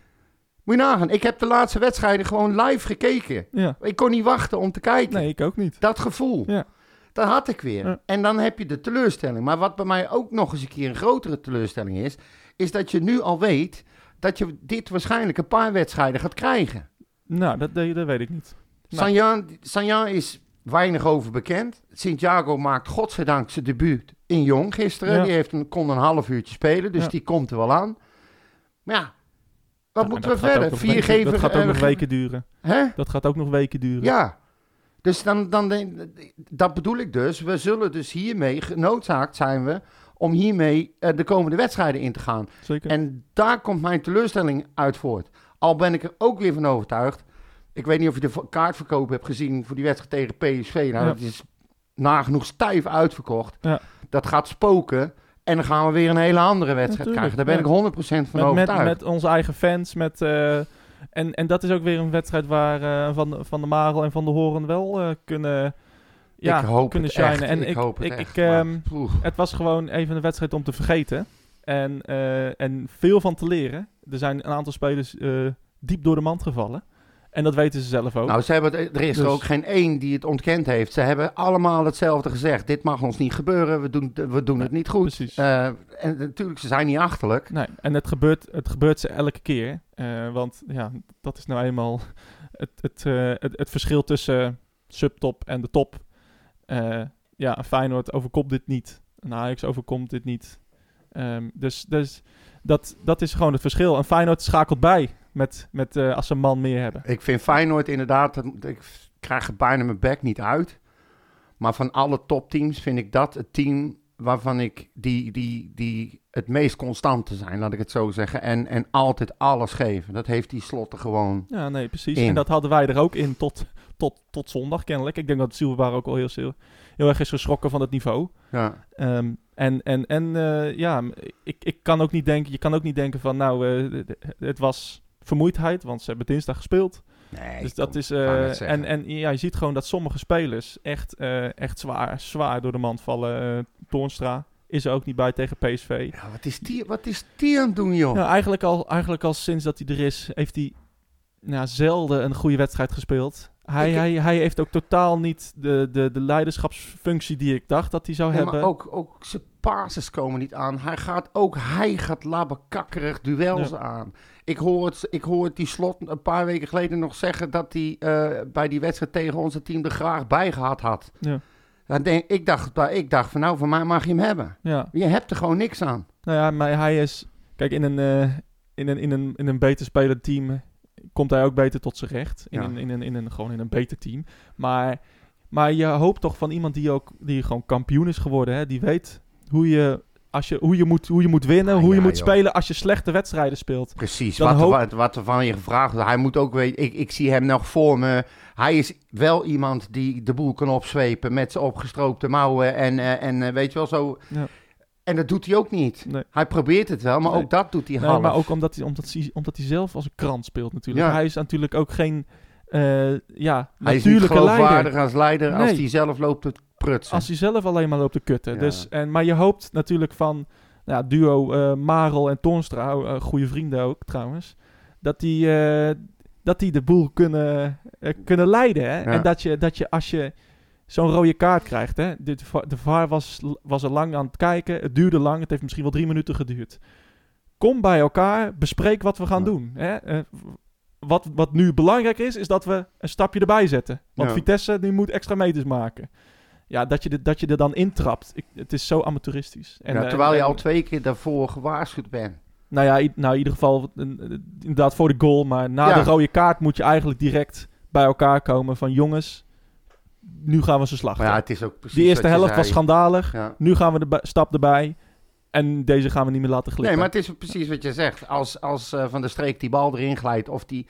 Moet je nagaan, ik heb de laatste wedstrijden gewoon live gekeken.
ja.
Ik kon niet wachten om te kijken.
Nee, ik ook niet.
Dat gevoel.
Ja.
Dat had ik weer.
Ja.
En dan heb je de teleurstelling. Maar wat bij mij ook nog eens een keer een grotere teleurstelling is, is dat je nu al weet dat je dit waarschijnlijk een paar wedstrijden gaat krijgen.
Nou, dat, dat, dat weet ik niet. Nou.
Sanjan, Sanjan is weinig over bekend. Santiago maakt godzijdank zijn debuut in Jong gisteren.
Ja.
Die heeft een, kon een half uurtje spelen, dus
Ja.
die komt er wel aan. Maar ja, wat
Ja,
moeten
en
we
dat gaat
verder?
ook nog
Vier
weken-
geven.
Dat gaat ook
eh,
nog weken duren.
Hè?
Dat gaat ook nog weken duren.
Ja. Dus dan, dan denk- dat bedoel ik dus. We zullen dus hiermee, genoodzaakt zijn we, om hiermee eh, de komende wedstrijden in te gaan.
Zeker.
En daar komt mijn teleurstelling uit voort. Al ben ik er ook weer van overtuigd. Ik weet niet of je de vo- kaartverkoop hebt gezien voor die wedstrijd tegen PSV. Nou,
Ja.
dat is nagenoeg stijf uitverkocht.
Ja.
Dat gaat spoken. En dan gaan we weer een hele andere wedstrijd
Natuurlijk,
krijgen. Daar ben
ja.
ik 100% van
met, met,
overtuigd.
met onze eigen fans. Met, eh, en, en dat is ook weer een wedstrijd waar eh, van, van de Marel en van de Horen wel eh, kunnen, ja,
ik hoop
kunnen
het echt.
shinen. En
ik, hoop het
ik,
echt.
Ik,
maar,
ehm,
poeh.
het was gewoon even een wedstrijd om te vergeten. En, eh, en veel van te leren. Er zijn een aantal spelers eh, diep door de mand gevallen. En dat weten ze zelf ook.
Nou, ze hebben het, er is er
oh. Dus-
ook geen één die het ontkend heeft. Ze hebben allemaal hetzelfde gezegd. Dit mag ons niet gebeuren. We doen, we doen het niet goed.
Precies.
Eh, en natuurlijk, ze zijn niet achterlijk.
Nee, en het gebeurt, het gebeurt ze elke keer. eh, want ja, dat is nou eenmaal het, het, eh, het, het verschil tussen subtop en de top. Eh, ja, een Feyenoord overkomt dit niet. Een Ajax overkomt dit niet. Ehm, dus dus dat, dat is gewoon het verschil. En Feyenoord schakelt bij. Met, met, eh, als ze een man meer hebben.
Ik vind Feyenoord inderdaad, dat- ik krijg het bijna mijn bek niet uit. Maar van alle topteams vind ik dat het team waarvan ik die, die, die het meest constante zijn, laat ik het zo zeggen. En, en altijd alles geven. Dat heeft die slotten gewoon.
Ja, nee, precies.
In.
En dat hadden wij er ook in tot, tot, tot zondag kennelijk. Ik denk dat Silverbaar ook al heel, heel, heel erg is geschrokken van het niveau.
Ja,
Ehm, en en, en eh, ja, m- ik, ik kan ook niet denken, je kan ook niet denken van nou, eh, d- d- het was vermoeidheid, want ze hebben dinsdag gespeeld.
nee.
dus dat is,
wou net
eh,
zeggen.
en, en ja, je ziet gewoon dat sommige spelers echt, eh, echt zwaar, zwaar door de mand vallen. Eh Toornstra is er ook niet bij tegen PSV.
Ja, wat is die, wat is die aan het doen, joh?
Nou, eigenlijk, al, eigenlijk al sinds dat hij er is, heeft hij nou, zelden een goede wedstrijd gespeeld. Hij,
Ik-
hij, hij heeft ook totaal niet de, de, de leiderschapsfunctie die ik dacht dat hij zou
Nee,
hebben.
maar ook, ook zijn passes komen niet aan. Hij gaat ook, hij gaat labbekakkerig duels
Ja.
aan. Ik hoor, het, ik hoor het die slot een paar weken geleden nog zeggen dat hij eh, bij die wedstrijd tegen onze team er graag bij gehad had.
Ja.
Dan denk, ik, dacht, bij- ik dacht van nou, van mij mag je hem hebben.
Ja,
Je hebt er gewoon niks aan.
nou ja, maar hij is... Kijk, in een, eh, in een, in een, in een beter spelend team komt hij ook beter tot zijn recht. In,
Ja.
een, in, een, in een, gewoon in een beter team. Maar, maar je hoopt toch van iemand die, ook, die gewoon kampioen is geworden. Hè? Die weet hoe je, als je, hoe je, moet, hoe je moet winnen,
Ah,
hoe je
ja,
moet
joh.
spelen als je slechte wedstrijden speelt.
Precies,
Dan
wat,
hoop-
er, wat, wat er van je gevraagd wordt. Hij moet ook weten, ik, ik zie hem nog voor me. Hij is wel iemand die de boel kan opzwepen met zijn opgestroopte mouwen en, eh, en eh, weet je wel zo.
Ja.
En dat doet hij ook niet.
Nee.
Hij probeert het wel, maar
Nee.
ook dat doet hij
Nee,
half.
maar ook omdat hij, omdat, hij, omdat hij zelf als een krant speelt natuurlijk.
Ja.
Hij is natuurlijk ook geen eh, ja,
hij is niet
natuurlijke leider.
geloofwaardig als leider als
Nee.
hij zelf loopt te prutsen.
Als hij zelf alleen maar loopt te kutten.
Ja.
Dus, en, maar je hoopt natuurlijk van ja, duo eh, Marel en Toornstra, eh, goede vrienden ook trouwens, dat die, eh, dat die de boel kunnen, eh, kunnen leiden. Hè? En dat je, dat je als je zo'n rode kaart krijgt, hè? De, de VAR was, was er lang aan het kijken, het duurde lang, het heeft misschien wel drie minuten geduurd. Kom bij elkaar, bespreek wat we gaan
Ja.
doen. Hè? Eh, wat, wat nu belangrijk is, is dat we een stapje erbij zetten. Want
Ja.
Vitesse die moet extra meters maken. Ja, dat je, dit- dat je er dan intrapt. Ik, het is zo amateuristisch. En,
Ja,
eh,
terwijl je
en-
al twee keer daarvoor gewaarschuwd bent.
Nou ja, i- nou, in ieder geval een- een- inderdaad voor de goal. Maar na
Ja.
de rode kaart moet je eigenlijk direct bij elkaar komen van... Jongens, nu gaan we ze slachten.
Maar ja, het is ook precies
Die eerste
wat je
helft was
zei.
schandalig.
Ja.
Nu gaan we de ba- stap erbij. En deze gaan we niet meer laten glippen.
Nee, maar het is precies wat je zegt. Als, als eh, Van der Streek die bal erin glijdt of die...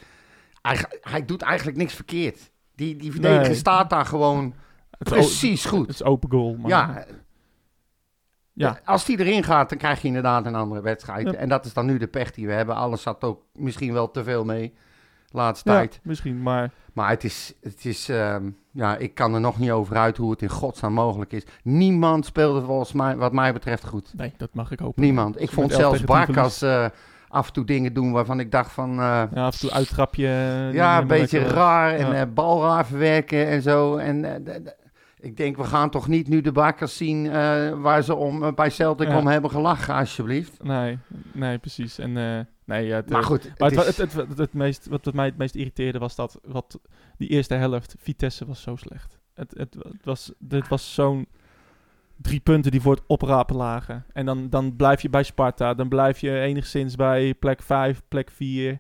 Hij, ga- hij doet eigenlijk niks verkeerd. Die, die verdediger
Nee.
staat daar gewoon
het is o-
precies
Het
goed.
is open goal. Maar
Ja, Eh,
Ja.
als die erin gaat, dan krijg je inderdaad een andere wedstrijd.
Ja.
En dat is dan nu de pech die we hebben. Alles zat ook misschien wel te veel mee, laatste
Ja,
tijd.
misschien, maar...
Maar het is, het is ehm, ja, ik kan er nog niet over uit hoe het in godsnaam mogelijk is. Niemand speelde volgens mij, wat mij betreft, goed.
Nee, dat mag ik hopen.
Niemand. Ik
Met
vond
elf
zelfs
tegen tien
Barkas eh, af en toe dingen doen waarvan ik dacht van... eh,
Ja, af en toe uitgrapje. eh, niet
ja, een
helemaal
beetje
lekker.
raar en
Ja.
eh, bal raar verwerken en zo. En eh, d- d- ik denk, we gaan toch niet nu de bakkers zien eh, waar ze om, eh, bij Celtic
Ja.
om hebben gelachen, alsjeblieft.
Nee, nee, precies. En eh, nee, ja, het,
Maar
eh,
goed, het
maar het, wa-
is-
het, het, het- het meest, wat wat mij het meest irriteerde was dat wat die eerste helft, Vitesse was zo slecht. Het, het, het was, dit was zo'n drie punten die voor het oprapen lagen. En dan, dan blijf je bij Sparta, dan blijf je enigszins bij plek 5, plek 4.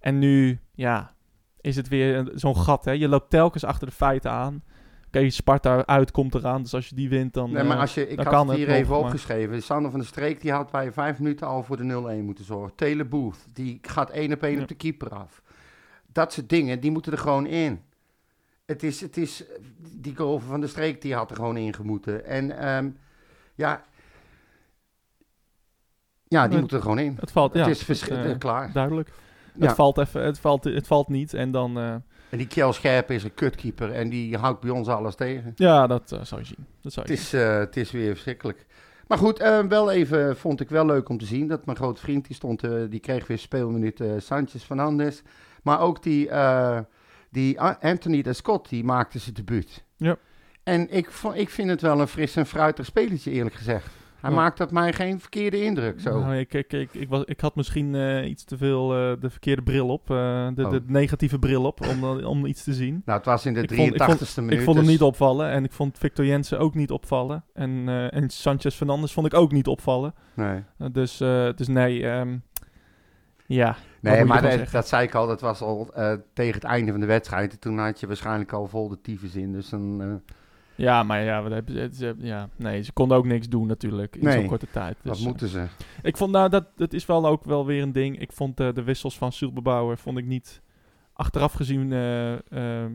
En nu, ja, is het weer een- zo'n gat, hè? Je loopt telkens achter de feiten aan. Oké, Sparta uit komt eraan, dus als je die wint, dan...
nee, maar
eh,
als je, ik
dan
had
kan
het hier
het nog,
even
maar-
opgeschreven. Sander van der Streek die had bij vijf minuten al voor de 0-1 moeten zorgen. Telebooth, die gaat één op één
Ja.
op de keeper af. Dat soort dingen, die moeten er gewoon in. Het is, het is, die goal van de streek die had er gewoon in gemoeten. En ehm, ja, ja, die
Het-
moeten er gewoon in.
het valt, ja,
het is verschi-
eh,
eh, klaar.
duidelijk.
Ja.
Het, valt even, het, valt, het valt niet en dan... eh,
En die Kjell Scherp is een kutkeeper en die houdt bij ons alles tegen.
Ja, dat eh, zou je zien. Dat zou
Het
je zien.
is, eh, het is weer verschrikkelijk. Maar goed, eh, wel even vond ik wel leuk om te zien dat mijn grote vriend die stond, eh, die kreeg weer speelminuut eh Sanchez Fernandez. Maar ook die, eh, die A- Anthony de Scott, die maakte zijn debuut.
Ja.
En ik, vo- ik vind het wel een fris en fruitig spelletje, eerlijk gezegd. Hij
Ja.
maakt op mij geen verkeerde indruk. Zo.
Nou, ik, ik, ik, ik, was, ik had misschien eh, iets te veel eh, de verkeerde bril op. eh, de,
Oh.
de negatieve bril op, om, dan- om iets te zien.
Nou, het was in de
Ik vond- ik vond-
83ste minuut.
ik vond hem
dus-
niet opvallen. En ik vond Victor Jensen ook niet opvallen. En, eh, en Sanchez Fernandes vond ik ook niet opvallen.
Nee.
Eh, dus, eh, dus nee, ehm, Ja.
Nee,
moet je
maar
dan
dat,
zeggen?
dat zei ik al, dat was al eh, tegen het einde van de wedstrijd. En Toen had je waarschijnlijk al vol de tyfus in. Dus dan, eh,
Ja, maar ja, wat hebben ze, het- ze- ja, nee, ze konden ook niks doen natuurlijk in
Nee.
zo'n korte tijd. Dus,
wat
eh,
moeten ze?
ik vond, nou, dat, dat is wel ook wel weer een ding. Ik vond eh, de wissels van Silberbouwer vond ik niet achteraf gezien, eh, eh, nou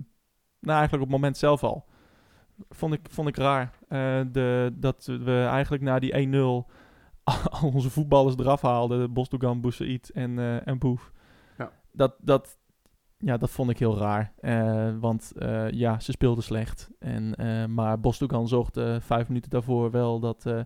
eigenlijk op het moment zelf al. Vond ik, vond ik raar eh, de, dat we eigenlijk na die 1-0 al onze voetballers eraf haalden. Bosdogan, Boussaïd en, eh, en Boef.
Ja.
Dat, dat, ja, dat vond ik heel raar. Eh, want eh, ja, ze speelden slecht. En, eh, maar Bosdogan zorgde vijf minuten daarvoor wel dat... eh,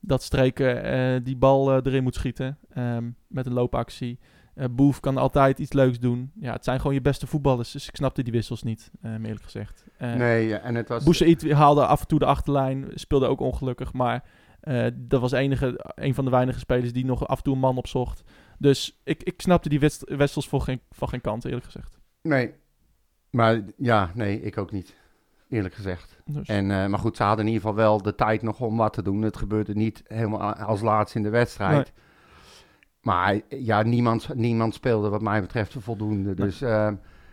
dat streken eh, die bal eh, erin moet schieten ehm, met een loopactie. Eh, Boef kan altijd iets leuks doen. Ja, het zijn gewoon je beste voetballers. Dus ik snapte die wissels niet, ehm, eerlijk gezegd. Eh
nee, ja, en het was...
Boussaïd haalde af en toe de achterlijn, speelde ook ongelukkig. Maar eh, dat was enige, een van de weinige spelers die nog af en toe een man opzocht. Dus ik, ik snapte die wets- wissels voor geen, van geen kant, eerlijk gezegd.
Nee. Maar ja, nee, ik ook niet. Eerlijk gezegd.
Dus,
En, eh, maar goed, ze hadden in ieder geval wel de tijd nog om wat te doen. Het gebeurde niet helemaal a- als laatste in de wedstrijd. Maar ja, niemand, niemand speelde wat mij betreft voldoende. Dus eh,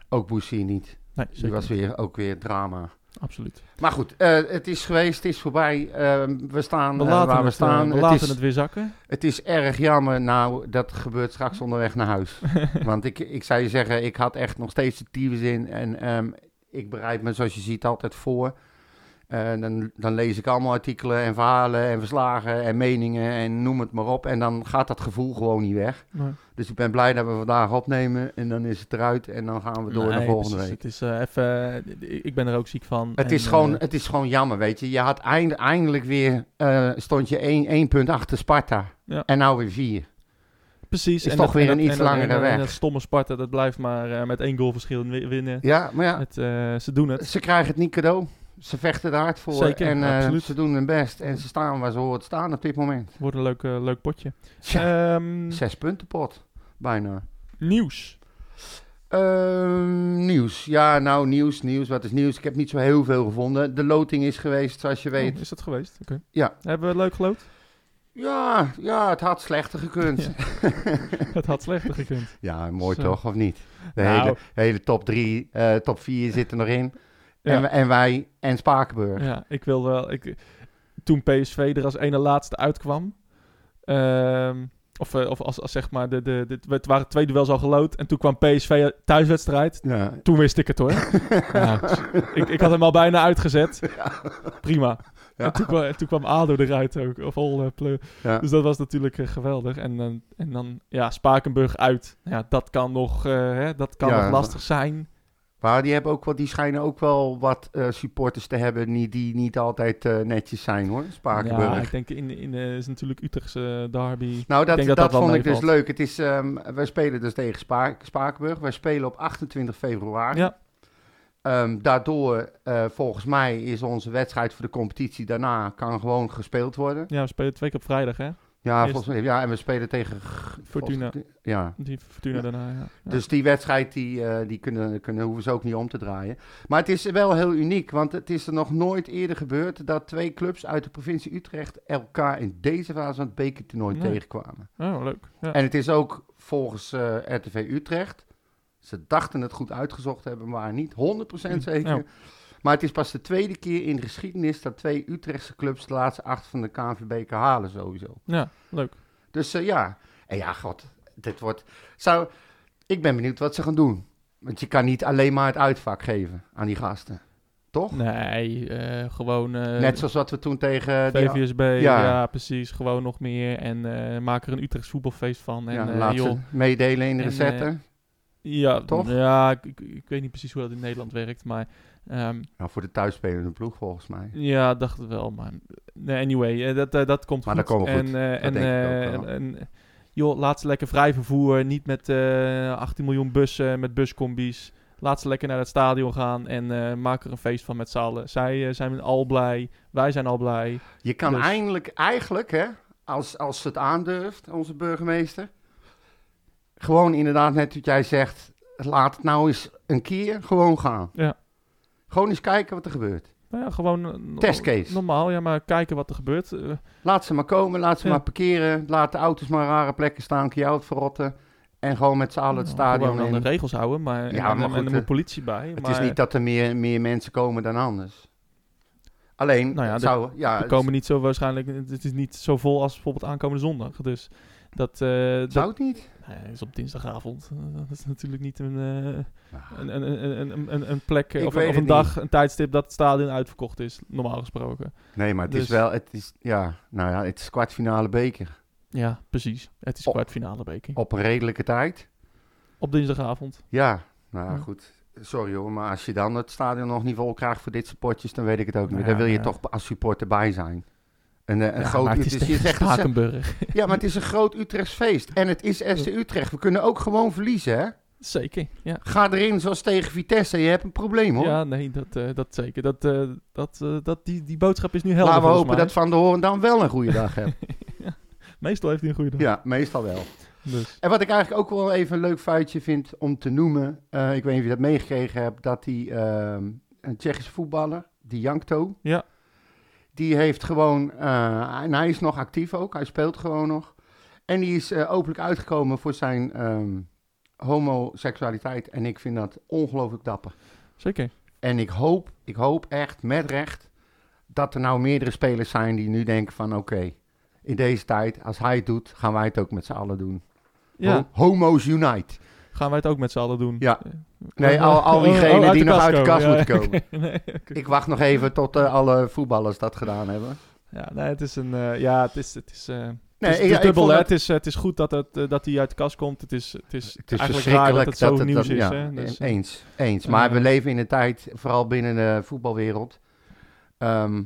ook Boussi niet.
nee,
Die
zeker
was
niet.
weer, ook weer drama.
Absoluut.
Maar goed, eh, het is geweest, het is voorbij. Eh, we staan
We
eh,
laten,
waar we
het, eh,
staan.
we laten
het, is,
het weer zakken.
het is erg jammer. Nou, dat gebeurt straks onderweg naar huis. Want ik, ik zou je zeggen, ik had echt nog steeds de tyfus in. En ehm, ik bereid me, zoals je ziet, altijd voor. En dan, dan lees ik allemaal artikelen en verhalen en verslagen en meningen en noem het maar op. En dan gaat dat gevoel gewoon niet weg.
Nee.
Dus ik ben blij dat we vandaag opnemen. En dan is het eruit en dan gaan we door
Nee,
naar volgende
precies.
week.
Het is eh, even, eh, ik- ik ben er ook ziek van.
Het,
En,
is gewoon,
eh,
het is gewoon jammer, weet je. Je had eind, eindelijk weer, eh, stond je één één punt achter Sparta.
Ja.
En nou weer vier.
precies.
is toch weer een
en
iets
en dat- en
langere
dat- en
weg.
dat stomme Sparta, dat blijft maar eh, met één goalverschil wi- winnen.
Ja, maar ja,
Het, eh, ze doen het.
ze krijgen het niet cadeau. Ze vechten er hard voor
Zeker,
en eh,
absoluut.
ze doen hun best. En ze staan waar ze hoort staan op dit moment.
Wordt een leuk, eh, leuk potje.
Tja,
Ehm,
zes punten pot, bijna.
nieuws.
Ehm, nieuws. Ja, nou, nieuws, nieuws. Wat is nieuws? Ik heb niet zo heel veel gevonden. De loting is geweest, zoals je weet.
Oh, is dat geweest? Oké.
Ja.
Hebben we leuk geloot?
Ja, ja het had slechter gekund.
het had slechter gekund.
Ja, mooi
Zo.
toch, of niet? De
Nou.
hele, hele top 3, top 4 zit er nog in.
Ja.
En, we- en wij en Spakenburg.
Ja, ik wil wel. Ik, toen PSV er als ene laatste uitkwam. ehm, of, eh, of als, als zeg maar, de, de, de, het waren twee duels al geloot. En toen kwam PSV thuiswedstrijd.
Ja.
Toen wist ik het hoor. Ja, ik, ik had hem al bijna uitgezet. Prima.
Ja.
En toen, kwam, en toen kwam Ado eruit ook. Of all eh, pleu.
Ja.
Dus dat was natuurlijk eh, geweldig. En, dan en dan, ja, Spakenburg uit. Ja, dat kan nog, eh, hè, dat kan
Ja,
nog lastig zijn.
Maar die, hebben ook wel, die schijnen ook wel wat eh, supporters te hebben die, die niet altijd eh, netjes zijn hoor, Spakenburg.
Ja, ik denk in, in eh, is natuurlijk Utrechtse eh, derby.
Nou, dat,
denk
dat,
dat dat wel
vond ik dus
meevalt.
leuk. Het is, ehm, wij spelen dus tegen Spa Spakenburg. Wij spelen op 28 februari.
Ja.
Ehm, daardoor, eh, volgens mij, is onze wedstrijd voor de competitie daarna kan gewoon gespeeld worden.
Ja, we spelen twee keer op vrijdag, hè?
Ja,
Eerst-
volgens mij, ja en we spelen tegen... G-
Fortuna.
volgens- Ja,
Die Fortuna
Ja.
daarna, ja. Ja.
Dus die wedstrijd, die, eh, die kunnen, kunnen, hoeven ze ook niet om te draaien. Maar het is wel heel uniek, want het is er nog nooit eerder gebeurd dat twee clubs uit de provincie Utrecht elkaar in deze fase van het bekertoernooi
Nee.
tegenkwamen.
Oh, leuk. Ja.
En het is ook volgens eh, RTV Utrecht, ze dachten het goed uitgezocht te hebben, maar niet 100% zeker.
Nou.
Maar het is pas de tweede keer in de geschiedenis dat twee Utrechtse clubs de laatste acht van de KNVB kan halen sowieso.
ja, leuk.
Dus eh, ja, en ja, god, dit wordt... Zou... Ik ben benieuwd wat ze gaan doen. Want je kan niet alleen maar het uitvak geven aan die gasten, toch?
Nee, eh, gewoon... eh,
Net zoals wat we toen tegen... die-
VVSB,
Ja.
ja. precies. Gewoon nog meer. En eh, maak er een Utrechts voetbalfeest van. En,
ja,
eh,
laat
joh,
ze meedelen in de
en, eh,
recepten.
ja,
toch?
Ja, ik, ik, ik weet niet precies hoe dat in Nederland werkt. Maar ehm,
nou, voor de thuisspelende ploeg volgens mij.
ja, dacht het wel. Maar nee, anyway, eh, dat, eh, dat komt
Maar dat
goed.
komen we
en,
goed.
eh, en,
denk ik
eh,
ook wel.
en- en, joh, laat ze lekker vrij vervoer. Niet met eh 18 miljoen bussen, met buscombi's. Laat ze lekker naar het stadion gaan en eh, maak er een feest van met z'n allen. Zij eh, zijn al blij, wij zijn al blij.
Je kan
Dus-
eindelijk, eigenlijk hè, als, als ze het aandurft, onze burgemeester, gewoon inderdaad net wat jij zegt, laat het nou eens een keer gewoon gaan.
Ja.
Gewoon eens kijken wat er gebeurt.
Nou ja, gewoon eh, no-
Testcase.
normaal, ja, maar kijken wat er gebeurt. Eh,
Laat ze maar komen, laat ze
Ja.
maar parkeren, laat de auto's maar rare plekken staan, kun je het verrotten. En gewoon met z'n allen het stadion
nou, Gewoon aan
in.
de regels houden, maar, en-
Ja,
en,
maar goed,
en er
eh,
moet politie bij.
Het
maar
is niet dat er meer, meer mensen komen dan anders. Alleen,
Nou ja,
het
de-
zou, ja,
we
het-
komen niet zo waarschijnlijk, het is niet zo vol als bijvoorbeeld aankomende zondag. Dus dat, eh,
zou
dat
het niet?
nee, is Nou dus op dinsdagavond. Eh, Dat is natuurlijk niet een, eh,
Nou,
een, een, een, een, een, een plek eh,
Ik
of,
weet
een- of
het
een dag, een tijdstip dat het stadion uitverkocht is, normaal gesproken.
Nee, maar het is
Dus-
wel, het is, ja, nou ja, het is kwartfinale beker.
Ja, precies. Het is
Op-
kwartfinale beker.
Op een redelijke tijd.
Op dinsdagavond.
Ja, nou ja,
Ja.
goed. Sorry hoor, maar als je dan het stadion nog niet vol krijgt voor dit soort potjes, dan weet ik het ook niet.
Nou
dan
ja,
wil je
maar ja.
toch als supporter bij zijn. Een, eh, een
Ja,
groot
maar het is
Utrecht-
tegen
je zegt het zelf.
Spakenburg.
Ja, maar het is een groot Utrechts feest. En het is SC Utrecht. We kunnen ook gewoon verliezen, hè?
Zeker, ja.
Ga erin zoals tegen Vitesse. Je hebt een probleem, hoor.
Ja, nee, dat, eh, dat zeker. Dat, eh, dat, eh, dat, die, die boodschap is nu helder.
Laten we
volgens
hopen
mij.
dat Van der Hoorn dan wel een goede dag hebt.
Meestal heeft hij een goede dag.
ja, meestal wel.
Dus.
En wat ik eigenlijk ook wel even een leuk feitje vind om te noemen. eh, ik weet niet of je dat meegekregen hebt. Dat die ehm, een Tsjechische voetballer, die Jankto.
Ja.
Die heeft gewoon... eh, en hij is nog actief ook. Hij speelt gewoon nog. En die is eh, openlijk uitgekomen voor zijn ehm, homoseksualiteit. En ik vind dat ongelooflijk dapper.
Zeker.
En ik hoop, ik hoop echt met recht dat er nou meerdere spelers zijn die nu denken van oké, in deze tijd, als hij het doet, gaan wij het ook met z'n allen doen.
Ja,
Ho- Homo's Unite.
gaan wij het ook met z'n allen doen.
Ja.
Eh,
Nee,
eh,
al, al
oh,
diegenen
oh,
die nog uit de kast
komen.
moeten komen.
Ja, nee, oké.
Ik wacht nog even tot eh, alle voetballers dat gedaan hebben.
ja, nee, het is een... eh, ja, het is... Het is eh,
Nee,
het is,
ik-
het is
ik
dubbel,
vond
hè.
dat-
het, is, eh, het is goed dat, het, eh, dat hij uit de kast komt. Het is, het is,
Het is
eigenlijk raar dat
verschrikkelijk
het zo
het
nieuws
dan-
is.
ja,
hè. Dus, eh,
eens, eens. Maar
eh,
we leven in een tijd, vooral binnen de voetbalwereld, ehm,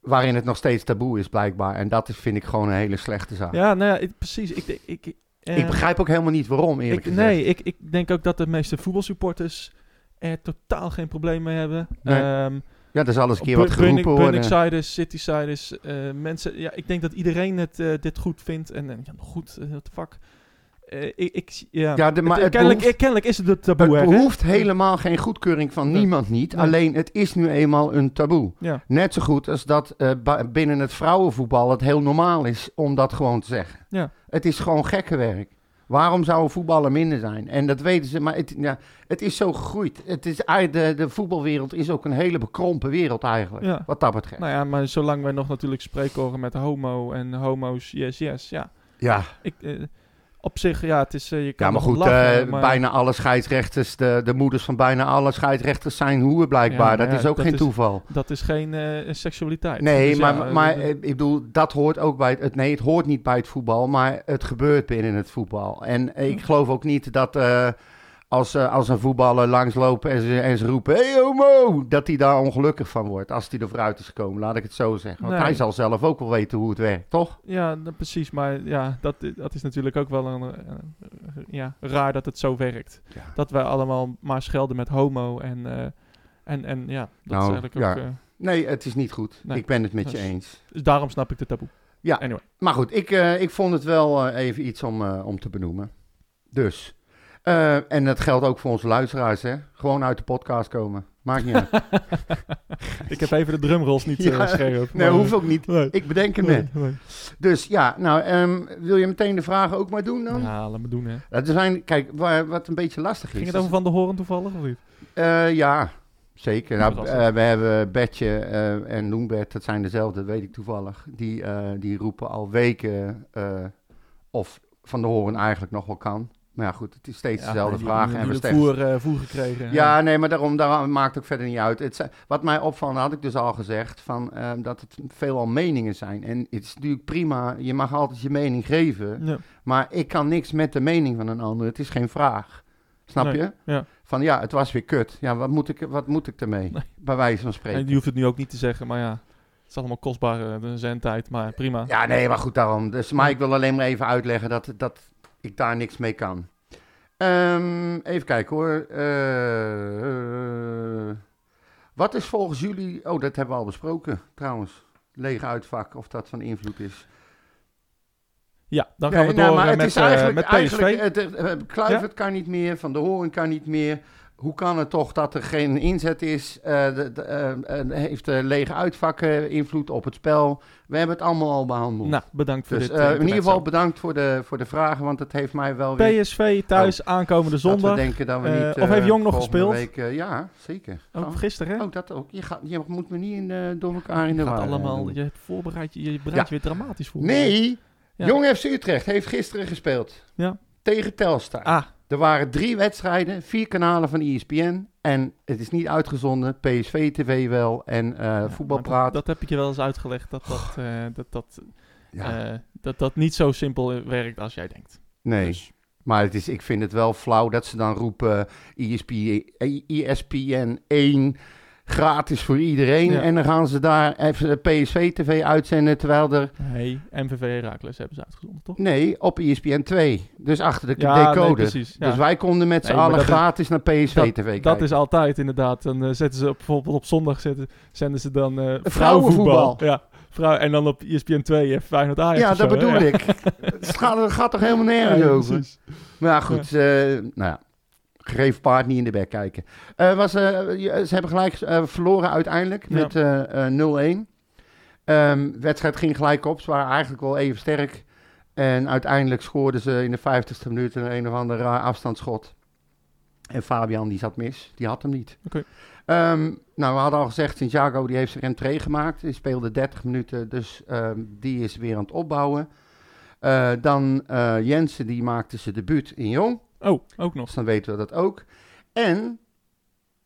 waarin het nog steeds taboe is blijkbaar. En dat is, vind ik gewoon een hele slechte zaak.
ja, nou ja, ik- precies. Ik, denk- ik, ik, eh,
ik begrijp ook helemaal niet waarom, eerlijk
ik,
gezegd.
Nee, ik, ik denk ook dat de meeste voetbalsupporters er totaal geen probleem mee hebben.
Nee.
Ehm,
Ja, er zal eens een keer
Bun-
wat geroepen
Bunnik-
worden.
Bunniksiders, Citysiders, eh, mensen... Ja, ik denk dat iedereen het, eh, dit goed vindt. En eh, ja, goed, eh, what the fuck. Eh, ik, ik, zie- ja.
ja, de, maar het,
kennelijk,
behoeft,
kennelijk is het de
het
taboe. hè?
behoeft helemaal geen goedkeuring van
Nee.
niemand niet.
Nee.
Alleen het is nu eenmaal een taboe.
Ja,
Net zo goed als dat eh, ba- binnen het vrouwenvoetbal het heel normaal is om dat gewoon te zeggen.
Ja.
Het is gewoon gekkenwerk. Waarom zou een voetballer minder zijn? En dat weten ze, maar het, ja, het is zo gegroeid. Het is, ei- de, de voetbalwereld is ook een hele bekrompen wereld eigenlijk,
Ja.
wat dat betreft.
nou ja, maar zolang wij nog natuurlijk spreekkoren met homo en homo's, yes, yes, ja.
ja,
Ik, eh, op zich, ja, het is, eh, je kan
Ja, maar
nog
goed,
lachen,
eh,
maar-
bijna alle scheidsrechters, de, de moeders van bijna alle scheidsrechters zijn hoeren blijkbaar.
Ja, maar
dat
ja,
is ook
dat
geen
is-
toeval.
Dat is geen eh, seksualiteit.
Nee,
Dus ja,
maar,
eh,
maar
dat-
eh, ik bedoel, dat hoort ook bij het, het- Nee, het hoort niet bij het voetbal, maar het gebeurt binnen het voetbal. En eh, ik
Hm.
geloof ook niet dat eh, als, eh, als een voetballer langsloopt en ze, en ze roepen: hey, homo! dat hij daar ongelukkig van wordt als hij er vooruit is gekomen, laat ik het zo zeggen. Want
Nee.
hij zal zelf ook wel weten hoe het werkt, toch?
Ja, nou, precies. Maar ja, dat, i- dat is natuurlijk ook wel een, eh, eh, ja, raar dat het zo werkt.
Ja.
Dat wij allemaal maar schelden met homo en, eh, en, en ja, dat
Nou,
is eigenlijk ook...
ja.
eh,
Nee, het is niet goed.
Nee.
Ik ben het met je
Dus-
eens.
dus daarom snap ik de taboe.
Ja.
Anyway.
Maar goed, ik, eh, ik vond het wel eh, even iets om, eh, om te benoemen. Dus. eh, en dat geldt ook voor onze luisteraars, hè? Gewoon uit de podcast komen. Maakt niet uit.
ik heb even de drumrolls niet eh,
Ja,
scherp.
Nee,
maar-
hoeft ook niet.
Nee.
Ik bedenk hem
Nee,
net.
nee.
Dus ja, nou, ehm, wil je meteen de vragen ook maar doen dan?
Ja, laat me doen, hè.
Dat zijn, kijk, waar, wat een beetje lastig is.
Ging het over Van de Horen toevallig of niet?
Eh, ja, zeker. Nou,
Verrassend.
eh, we hebben Bertje eh, en Loenbert, dat zijn dezelfde, dat weet ik toevallig. Die, eh, die roepen al weken eh, of Van de Horen eigenlijk nog wel kan. Maar ja, goed, het is steeds dezelfde vraag. En we
Hebben
stemmen-
voer, eh, voer gekregen.
Ja, nee, maar daarom, daarom maakt ook verder niet uit. Het, zijn- wat mij opvalt, had ik dus al gezegd, van, ehm, dat het veelal meningen zijn. En het is natuurlijk prima, je mag altijd je mening geven.
Ja.
Maar ik kan niks met de mening van een ander. Het is geen vraag. Snap
Nee,
je?
ja.
Van ja, het was weer kut. Ja, wat moet ik, wat moet ik ermee?
Nee.
Bij wijze van spreken.
En je hoeft het nu ook niet te zeggen, maar ja. Het is allemaal kostbare zendtijd, maar prima.
Ja, nee, maar goed daarom. Dus, maar ik wil alleen maar even uitleggen dat, dat ik daar niks mee kan. Ehm, even kijken hoor. Eh, eh, wat is volgens jullie... Oh, dat hebben we al besproken trouwens. Lege uitvak, of dat van invloed is.
Ja, dan gaan we
Nee, nou,
door
maar
eh,
het
met,
is
eh,
eigenlijk,
met PSV.
eigenlijk het, eh, eh, Kluivert kan niet meer, Van der Hoorn kan niet meer. hoe kan het toch dat er geen inzet is? Eh, de- de, eh, eh, heeft eh, lege uitvakken invloed op het spel? We hebben het allemaal al behandeld.
Nou, bedankt voor
dus
dit.
eh,
eh,
in ieder geval
intermezzo.
bedankt voor de, voor de vragen, want het heeft mij wel weer...
PSV thuis aankomende
Dat
zondag.
we denken dat we
Eh,
niet,
of heeft
eh,
Jong nog
volgende
gespeeld?
Week, eh, ja, zeker.
Ook
Oh,
gisteren, hè?
oh, dat ook. Je, gaat, je moet me niet in, eh, door elkaar in de
Je gaat
war, eh,
allemaal,
doen.
je voorbereidt je, je bereidt
Ja.
je weer dramatisch voor.
Nee,
Ja.
Jong FC Utrecht heeft gisteren gespeeld.
Ja.
Tegen Telstar.
Ah,
Er waren drie wedstrijden, vier kanalen van E ESPN. En het is niet uitgezonden. PSV TV wel en eh
maar
voetbalpraat.
Dat, dat heb ik je wel eens uitgelegd, dat dat, eh, dat, dat,
ja,
eh, dat dat niet zo simpel eh, werkt als jij denkt.
nee.
dus-
Maar het is, ik vind het wel flauw dat ze dan roepen ESP, ESPN 1 gratis voor iedereen.
Ja.
En dan gaan ze daar even PSV TV uitzenden terwijl er...
Nee, MVV Heracles hebben ze uitgezonden, toch?
Nee, op ESPN 2. Dus achter de
nee,
decode.
precies. Ja.
Dus wij konden met z'n
Nee, maar
allen
dat is-
gratis naar PSV TV kijken.
dat is altijd inderdaad. Dan eh, zetten ze op, bijvoorbeeld op zondag zetten, zenden ze dan eh,
Vrouwenvoetbal.
Ja, vrouw, en dan op ESPN 2 eh, Feyenoord Ajax
Ja,
of
dat
zo, hè?
bedoel
Ja.
ik. Het gaat, het gaat toch helemaal nergens
Ja,
over?
precies.
Maar ja, goed, eh, nou ja. Geef paard niet in de bek kijken. Eh, was, eh, je- ze hebben gelijk eh, verloren uiteindelijk
Ja.
met eh, eh, 0-1. Ehm, wedstrijd ging gelijk op. Ze waren eigenlijk wel even sterk. En uiteindelijk scoorden ze in de 50ste minuut een, een of ander raar afstandsschot. En Fabian die zat mis. Die had hem niet.
Oké.
Ehm, nou, we hadden al gezegd, Santiago die heeft zijn rentree gemaakt. Die speelde 30 minuten, dus ehm, die is weer aan het opbouwen. Eh, dan eh, Jensen, die maakte zijn debuut in Jong.
Oh, ook nog.
Dus dan weten we dat ook. En,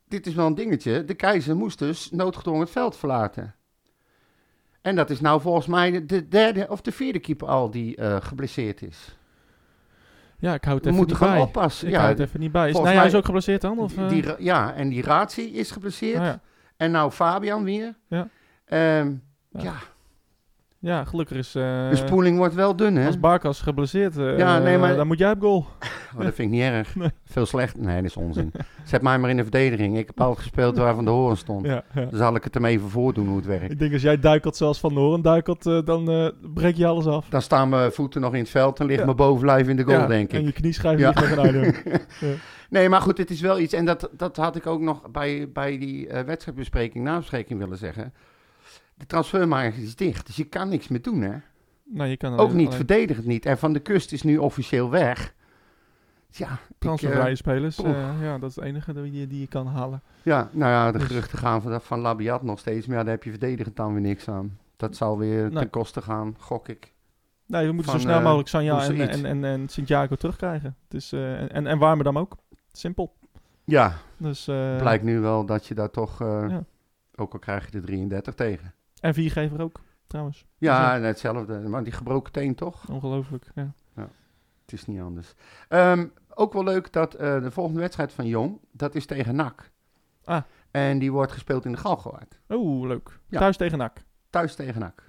dit is wel een dingetje, de keizer moest dus noodgedwongen het veld verlaten. En dat is nou volgens mij de- de derde of de vierde keeper al die eh, geblesseerd is.
Ja, ik hou het
We
even
moeten
niet
gewoon
bij.
oppassen.
Ik hou
Ja,
het even niet bij. Is
volgens
Nijhuis
mij-
ook geblesseerd dan? Of,
die,
eh?
die ra- ja, en die Ratie is geblesseerd.
Ah, ja.
En nou Fabian weer.
Ja.
Ehm,
Ja.
ja.
ja, gelukkig is... eh,
de spoeling wordt wel dun, hè?
Als Barkas geblesseerd, eh,
Ja, nee, maar-
dan moet jij op goal.
Maar Oh, dat vind ik niet erg.
Nee.
Veel slecht. Nee, dat is onzin. Zet mij maar in de verdediging. Ik heb altijd gespeeld waar Van de Horen stond.
Ja, ja.
Dan zal ik het hem even voordoen hoe het werkt.
Ik denk als jij duikelt zoals Van Noren duikelt, eh, dan eh, breek je alles af.
Dan staan mijn voeten nog in het veld en ligt
Ja.
mijn bovenlijf in de goal,
Ja,
denk
En
ik.
je knieschijf
Ja.
ligt nog een item.
Nee, maar goed, het is wel iets. En dat, dat had ik ook nog bij, bij die eh, wedstrijdbespreking, nabespreking willen zeggen. De transfermarkt is dicht, dus je kan niks meer doen, hè?
nou, je kan
Ook niet
alleen
verdedigend niet. En Van de Kust is nu officieel weg. Ja, ik, eh,
transfervrije spelers.
poeh.
eh, ja, dat is het enige die, je- die je kan halen.
ja, nou ja, de
Dus-
geruchten gaan van, van Labiat nog steeds. Maar ja, daar heb je verdedigend dan weer niks aan. Dat zal weer ten
Nee.
koste gaan, gok ik.
Nee, we moeten
Van,
zo snel
eh,
mogelijk Sanja en,
Boussaïd.
en, en, en Santiago terugkrijgen. Dus, en, en, en Warmerdam ook. Simpel.
Ja,
Dus, eh,
blijkt nu wel dat je daar toch, eh,
Ja.
ook al krijg je de 33 tegen.
En viergever ook, trouwens.
Ja,
Ja.
en hetzelfde. Maar die gebroken teen toch?
Ongelooflijk. Ja.
Het is niet anders. Ehm, ook wel leuk dat eh, de volgende wedstrijd van Jong, dat is tegen NAC.
Ah.
En die wordt gespeeld in de Galgenwaard.
Oh, leuk.
Ja.
Thuis tegen NAC.
Thuis tegen NAC.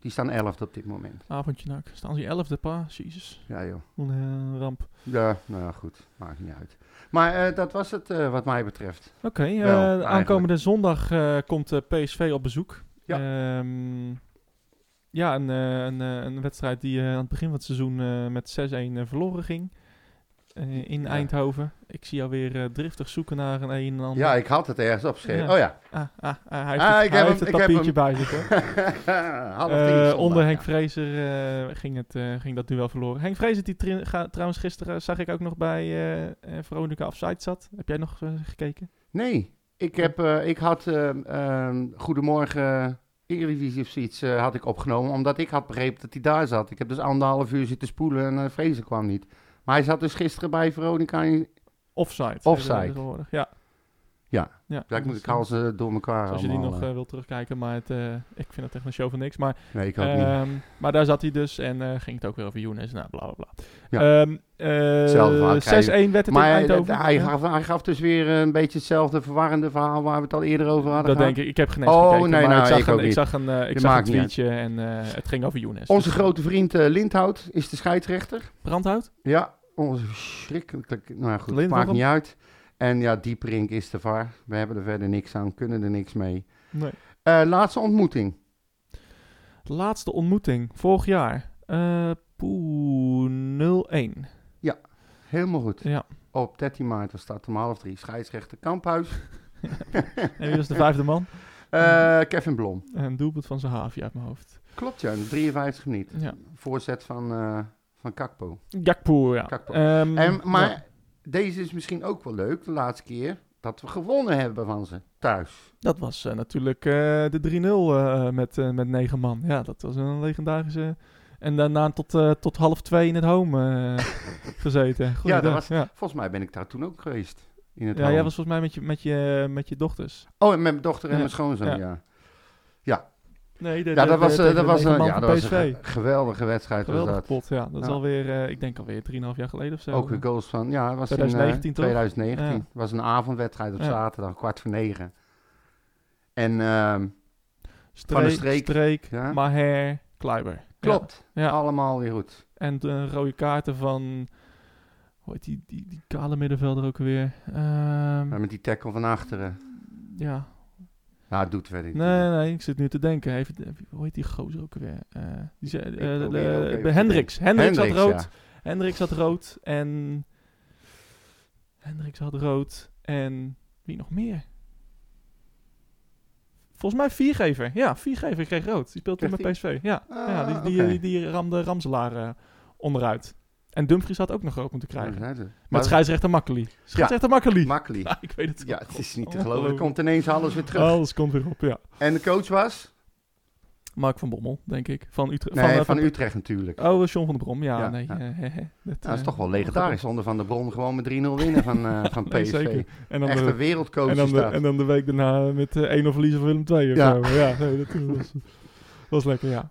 Die staan 11 op dit moment.
Avondje NAC. Staan ze 11 de pa? Jezus.
Ja joh.
Wat een eh, ramp.
Ja, nou ja, goed. Maakt niet uit. Maar eh, dat was het eh, wat mij betreft.
Oké, eh,
Wel, eigenlijk.
aankomende zondag eh, komt eh, PSV op bezoek.
Ja.
Ehm, ja, een, eh, een, eh, een wedstrijd die eh, aan het begin van het seizoen eh, met 6-1 verloren ging. eh, in
Ja.
Eindhoven. Ik zie jou weer eh, driftig zoeken naar een een en ander.
Ja, ik had het ergens opgeschreven.
Ja.
Oh ja.
Ah, ah, ah, hij heeft
Ah,
het,
ik
hij
heb
heeft
hem,
het
ik heb
papiertje bij zich. hoor.
Half
Eh,
tien zondag,
onder Henk
ja.
Vrezer eh, ging, het, eh, ging dat duel verloren. Henk Vrezer, die tri- ga- trouwens gisteren eh, zag ik ook nog bij eh, eh, Veronica Offside zat. Heb jij nog eh, gekeken?
Nee, ik, heb, eh, ik had ehm, ehm, Goedemorgen Eredivisie of zoiets eh, had ik opgenomen, omdat ik had begrepen dat hij daar zat. Ik heb dus anderhalf uur zitten spoelen en eh Vrezen kwam niet. Maar hij zat dus gisteren bij Veronica in...
Offside. heet
Offside.
dat tegenwoordig, Ja.
Ja.
ja.
Ja, ik moet
dus,
ik haal ze door elkaar
Als je die
allemaal,
nog
eh.
eh, wilt terugkijken, maar het, eh, ik vind het echt een show van niks. Maar,
Nee, ik had niet.
ehm, maar daar zat hij dus en eh, ging het ook weer over Younes. Nou, bla bla bla.
Ja.
Ehm, eh,
Hetzelfde verhaal
6-1 werd het
Maar
in
hij,
Eindhoven.
hij,
Ja.
gaf, hij gaf dus weer een beetje hetzelfde verwarrende verhaal waar we het al eerder over hadden
Dat
gehad.
denk ik. Ik heb geen eens
Oh,
gekeken,
nee,
maar
nou,
ik zag
ik
een,
ook
ik
niet.
zag een, eh, ik
Dat
zag een
maakt niet uit.
tweetje en eh, het ging over Younes.
Onze
Dus,
grote vriend eh, Lindhout is de scheidsrechter.
Brandhout?
Ja, onze verschrikkelijk. Nou ja, goed, het
Lindhout
maakt niet uit. En ja, Dieperink is de VAR. We hebben er verder niks aan, kunnen er niks mee.
Nee.
Eh, laatste ontmoeting.
Laatste ontmoeting, vorig jaar. Eh poeh, 0-1.
Helemaal goed.
Ja,
Op 13 maart was dat om half drie. Scheidsrechter Kamphuis.
En wie was de vijfde man?
Eh, Kevin Blom.
Een doelpunt van Zahavi uit mijn hoofd.
Klopt, ja. 53 minuten.
Ja.
Voorzet van, eh, van Kakpo.
Jakpoer, ja.
Kakpo.
Ehm,
En, maar
ja,
deze is misschien ook wel leuk, de laatste keer dat we gewonnen hebben van ze thuis.
dat was eh, natuurlijk eh, de 3-0 eh, met, eh, met negen man. Ja, dat was een legendarische... En daarna tot, eh, tot half twee in het home eh, gezeten. Goeiedag,
dat was-
ja.
Volgens mij ben ik daar toen ook geweest. In het
ja,
home.
jij was volgens mij met je, met je, eh, met je dochters.
Oh, en mijn dochter en
Ja,
mijn schoonzoon,
ja.
ja. Ja,
Nee, de,
dat was, eh, dat was, een-
een
ja, dat was een
PSV.
ge- geweldige wedstrijd.
Geweldig
was dat.
pot, ja. Dat is
Ja.
alweer, eh, ik denk alweer 3,5 jaar geleden of zo.
Ook weer goals van, ja, het was
2019
in
toch?
eh, 2019.
Ja.
Het was een avondwedstrijd op
Ja.
zaterdag, kwart voor negen. En ehm,
Streek,
Van de Streek.
Streek,
Ja.
Maher, Kleiber.
klopt,
Ja. Ja.
allemaal weer goed.
En de rode kaarten van... Hoe heet die, die, die kale middenvelder ook weer? Ehm,
Maar met die tackle van achteren.
ja.
Nou, het doet verder niet.
Nee, nee, ik zit nu te denken. Even, hoe heet die gozer ook weer? Eh, die zei,
probeer
eh, de-
ook
de-
even te
de- Hendricks. Hendricks had
Hendricks,
rood.
ja.
Hendricks had rood en... Hendricks had rood en wie nog meer? Volgens mij Viergever. Ja, Viergever kreeg rood. Die speelt toen
Kreeg
met PSV. Ja,
Ah,
ja die, die,
oké.
die, die ramde Ramselaar eh, onderuit. En Dumfries had ook nog rood moeten krijgen.
Ja,
Maar het scheidsrechter Makkeli. Scheidsrechter Makkeli.
Makkeli.
Ja, ik weet het
Ja,
wel.
het is niet te
Oh,
geloven. Er
geloof ik.
komt ineens alles weer terug.
Alles komt weer op, ja.
En de coach was?
Mark van Bommel, denk ik. Van Utrecht.
Nee,
eh,
van, Utrecht natuurlijk.
Oh, John van der Brom. Ja,
Ja,
nee.
ja.
eh, eh, eh, dat,
Nou, dat is
eh,
toch wel legendarisch. Onder Van der Bron gewoon met 3-0 winnen van, eh, van PSV.
Nee, zeker. En dan
Echt
de-
een wereldcoach
En
is
dan, de,
dat.
en dan de week daarna met eh, 1-0 verliezen van Willem II. Of
Ja.
zo. ja nee, dat eh, was, was lekker, ja.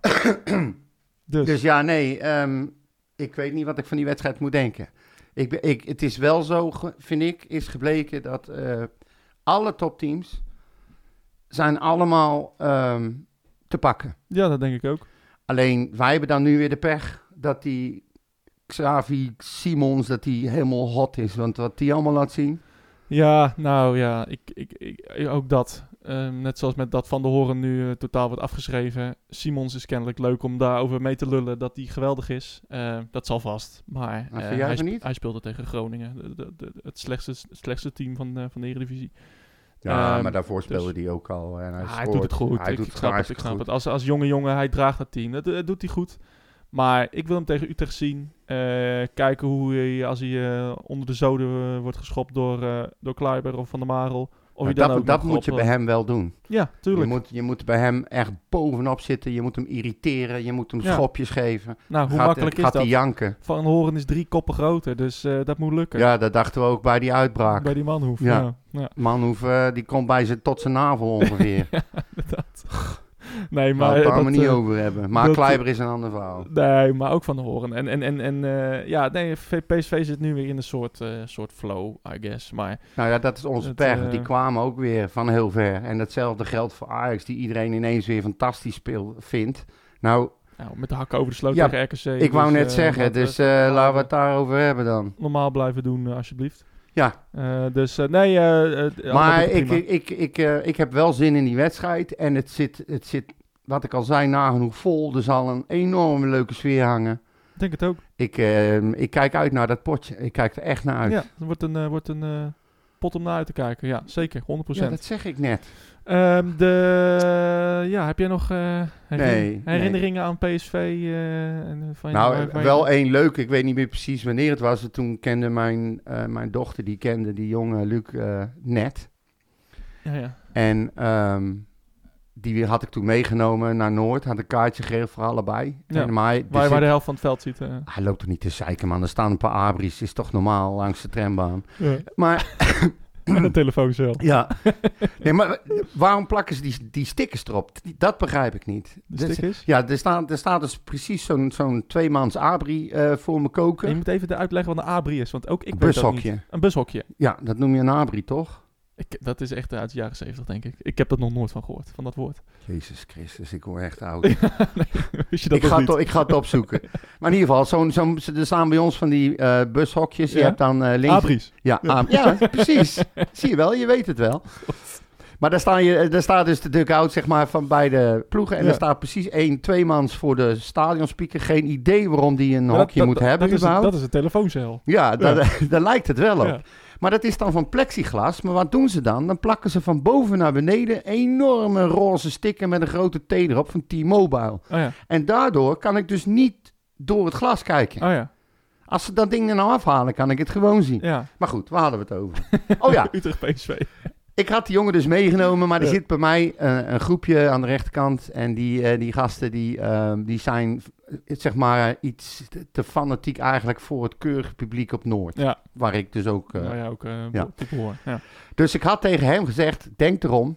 Dus,
Dus ja, nee. ehm, ik weet niet wat ik van die wedstrijd moet denken. Ik, ben- ik, het is wel zo, ge- vind ik, is gebleken dat eh, alle topteams zijn allemaal ehm, te pakken.
ja, dat denk ik ook.
Alleen, wij hebben dan nu weer de pech dat die Xavi Simons, dat die helemaal hot is. Want wat die allemaal laat zien...
Ja, nou ja, ik, ik, ik, ook dat. Ehm, net zoals met dat Van de Horen nu eh, totaal wordt afgeschreven. Simons is kennelijk leuk om daarover mee te lullen dat hij geweldig is. Ehm, dat zal vast. Maar
Maar
eh,
Nou, vind jij
hij,
van
sp-
niet?
hij speelde tegen Groningen. De- de- de- het, slechtste, het slechtste team van, eh, van de Eredivisie.
Ja,
Ehm,
maar daarvoor speelde
dus-
hij ook al. En hij,
Ah, hij
scoort.
doet het goed.
Hij
ik,
doet
ik
het
snap
gewoon
het. Ik
hartstikke
snap
goed.
het. Als, als jonge jongen, hij draagt dat team. Dat, dat doet hij goed. Maar ik wil hem tegen Utrecht zien. Eh, kijken hoe hij, als hij eh, onder de zoden eh, wordt geschopt door, eh door Kluiber of Van der Marel. Of
Maar
je dan
Nou, dat
ook
dat
nog
moet je
op-
bij hem wel doen.
Ja,
Je
tuurlijk.
moet, je moet bij hem echt bovenop zitten. Je moet hem irriteren. Je moet hem
Ja.
schopjes geven.
nou, hoe
gaat
makkelijk is
gaat
dat?
hij janken?
Van Horen is drie koppen groter, dus eh, dat moet lukken.
Ja, dat dachten we ook bij die uitbraak.
Bij die man hoeft.
Ja.
Ja. Ja,
Manhoef, eh, die komt bij zijn tot zijn navel ongeveer.
inderdaad. Nee,
maar
maar...
het
eh,
daar
dat,
maar niet
eh,
over hebben. Maar
dat- eh,
Kleiber is een ander verhaal.
Nee, maar ook van de horen. En, en, en, en eh, ja, nee, V- PSV zit nu weer in een soort, eh, soort flow, I guess. Maar
Nou ja, dat is onze
Het,
pech. want Die
eh,
kwamen ook weer van heel ver. En datzelfde geldt voor Ajax, die iedereen ineens weer fantastisch speel, vindt. Nou,
nou, met de hakken over de sloot
Ja,
tegen RKC.
ik wou
dus,
net
eh,
zeggen,
laten we
dus eh, laten we het daarover hebben dan.
Normaal blijven doen, eh, alsjeblieft.
Ja.
Eh, dus eh, nee, eh, eh, allemaal
Maar
prima.
ik, ik, ik, eh, ik heb wel zin in die wedstrijd. En het zit, het zit, wat ik al zei, nagenoeg vol. Er zal een enorme leuke sfeer hangen.
Ik denk het ook.
Ik, ehm, ik kijk uit naar dat potje. Ik kijk er echt naar uit.
Ja, het wordt een, eh, wordt een eh, pot om naar uit te kijken. Ja, zeker, 100%.
Ja, dat zeg ik net.
Ehm, de, ja, heb jij nog eh, herin-
Nee,
herinneringen aan PSV? eh, en van
Nou,
waarvan
eh,
je-
wel één leuk. Ik weet niet meer precies wanneer het was. Toen kende mijn, eh, mijn dochter, die kende die jonge Luc eh, net.
Ja, ja.
En ehm, die had ik toen meegenomen naar Noord. Had een kaartje geregeld voor allebei.
Ja.
En, maar hij,
Waar,
er
waar
zit-
de helft van het veld ziet. eh.
hij loopt toch niet te zeiken, man. Er staan een paar abris. Is toch normaal langs de trambaan. Maar
En een telefoon zelf.
ja, nee, maar waarom plakken ze die, die stickers erop? Dat begrijp ik niet.
De
Dus-
stickers.
ja, er staat, er staat dus precies zo'n zo'n tweemans abri eh, voor me
En je
koken.
moet even uitleggen wat een abri is, want ook ik weet dat niet.
Bushokje.
Een bushokje.
Ja, dat noem je een abri, toch?
Ik, dat is echt uit de jaren zeventig, denk ik. Ik heb dat nog nooit van gehoord, van dat woord.
Jezus Christus, ik word echt oud.
Wist je dat
ik,
nog
ga
niet?
het, ik ga het opzoeken. Maar in ieder geval, zo'n zo'n er staan bij ons van die eh, bushokjes. Je
Ja.
hebt dan eh, links...
Abris.
Ja, ah, ja, precies. Zie je wel, je weet het wel. Maar daar, staan je, daar staat dus de dugout zeg maar, van beide ploegen. En
Ja.
daar staat precies één, tweemans voor de stadionspeaker. Geen idee waarom die een
Maar dat-
hokje
dat-
moet
dat-
hebben
dat is, een-
überhaupt.
dat is een telefooncel.
Ja, daar, daar lijkt het wel op.
Ja. Oh
Maar dat is dan van plexiglas. Maar wat doen ze dan? Dan plakken ze van boven naar beneden enorme roze sticker met een grote T erop van T-Mobile.
Oh ja.
En daardoor kan ik dus niet door het glas kijken.
Oh ja.
Als ze dat ding er nou afhalen, kan ik het gewoon zien.
ja.
Maar goed, waar hadden we het over? Oh ja,
Utrecht PSV.
ik had die jongen dus meegenomen, maar er
Ja.
zit bij mij eh, een groepje aan de rechterkant. En die, eh, die gasten die, ehm, die zijn eh, zeg maar eh, iets te- te fanatiek eigenlijk voor het keurige publiek op Noord.
Ja.
Waar ik dus ook... eh,
Nou ja, ook eh
Ja.
ja. te behoren. Ja.
Dus ik had tegen hem gezegd, denk erom.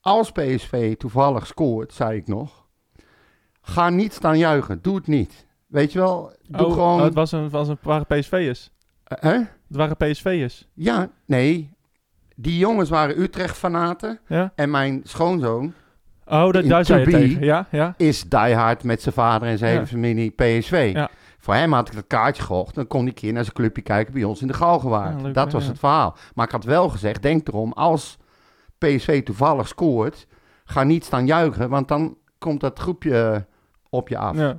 Als PSV toevallig scoort, zei ik nog. Ga niet staan juichen, doe het niet. Weet je wel, doe
Oh,
gewoon...
oh, het was een, was een, het waren PSV'ers.
Eh, hè?
Het waren PSV'ers.
Ja, nee. Die jongens waren Utrecht-fanaten.
Ja?
En mijn schoonzoon
Oh, dat,
In
daar zei je
to be.
tegen. Ja, ja.
is diehard met zijn vader en zijn
Ja.
hele familie PSV.
Ja.
Voor hem had ik dat kaartje gekocht. Dan kon die keer naar zijn clubje kijken bij ons in de Galgenwaard.
Ja, leuk,
dat
hè,
was
ja.
het verhaal. Maar ik had wel gezegd, denk erom, als PSV toevallig scoort, ga niet staan juichen, want dan komt dat groepje op je af.
Ja.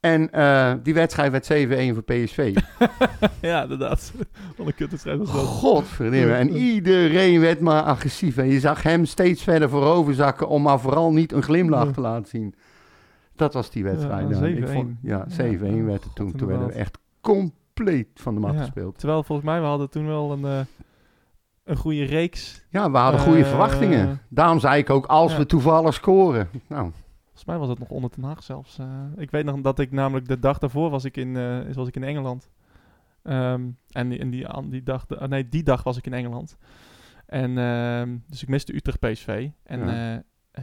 En eh, die wedstrijd werd 7-1 voor PSV.
ja, inderdaad. Wat een kutwedstrijd was dat.
Godverdomme. En iedereen werd maar agressief. En je zag hem steeds verder voorover zakken om maar vooral niet een glimlach
Ja.
te laten zien. Dat was die wedstrijd.
Ja,
dan. Ik
7-1.
vond- Ja,
Ja,
7-1
ja,
werd het
god,
toen. Toen werden we
inderdaad.
echt compleet van de mat
Ja.
gespeeld.
Terwijl volgens mij, we hadden toen wel een, eh, een goede reeks.
Ja, we hadden goede
Eh,
verwachtingen. Daarom zei ik ook, als
ja.
we toevallig scoren. Nou,
Volgens mij was dat nog onder Den Haag zelfs. eh. ik weet nog dat ik namelijk de dag daarvoor was ik in, eh, was ik in Engeland. Ehm, en die, en die, aan die, dag, ah, nee, die dag was ik in Engeland. En, ehm, dus ik miste Utrecht PSV. En
Ja.
ja,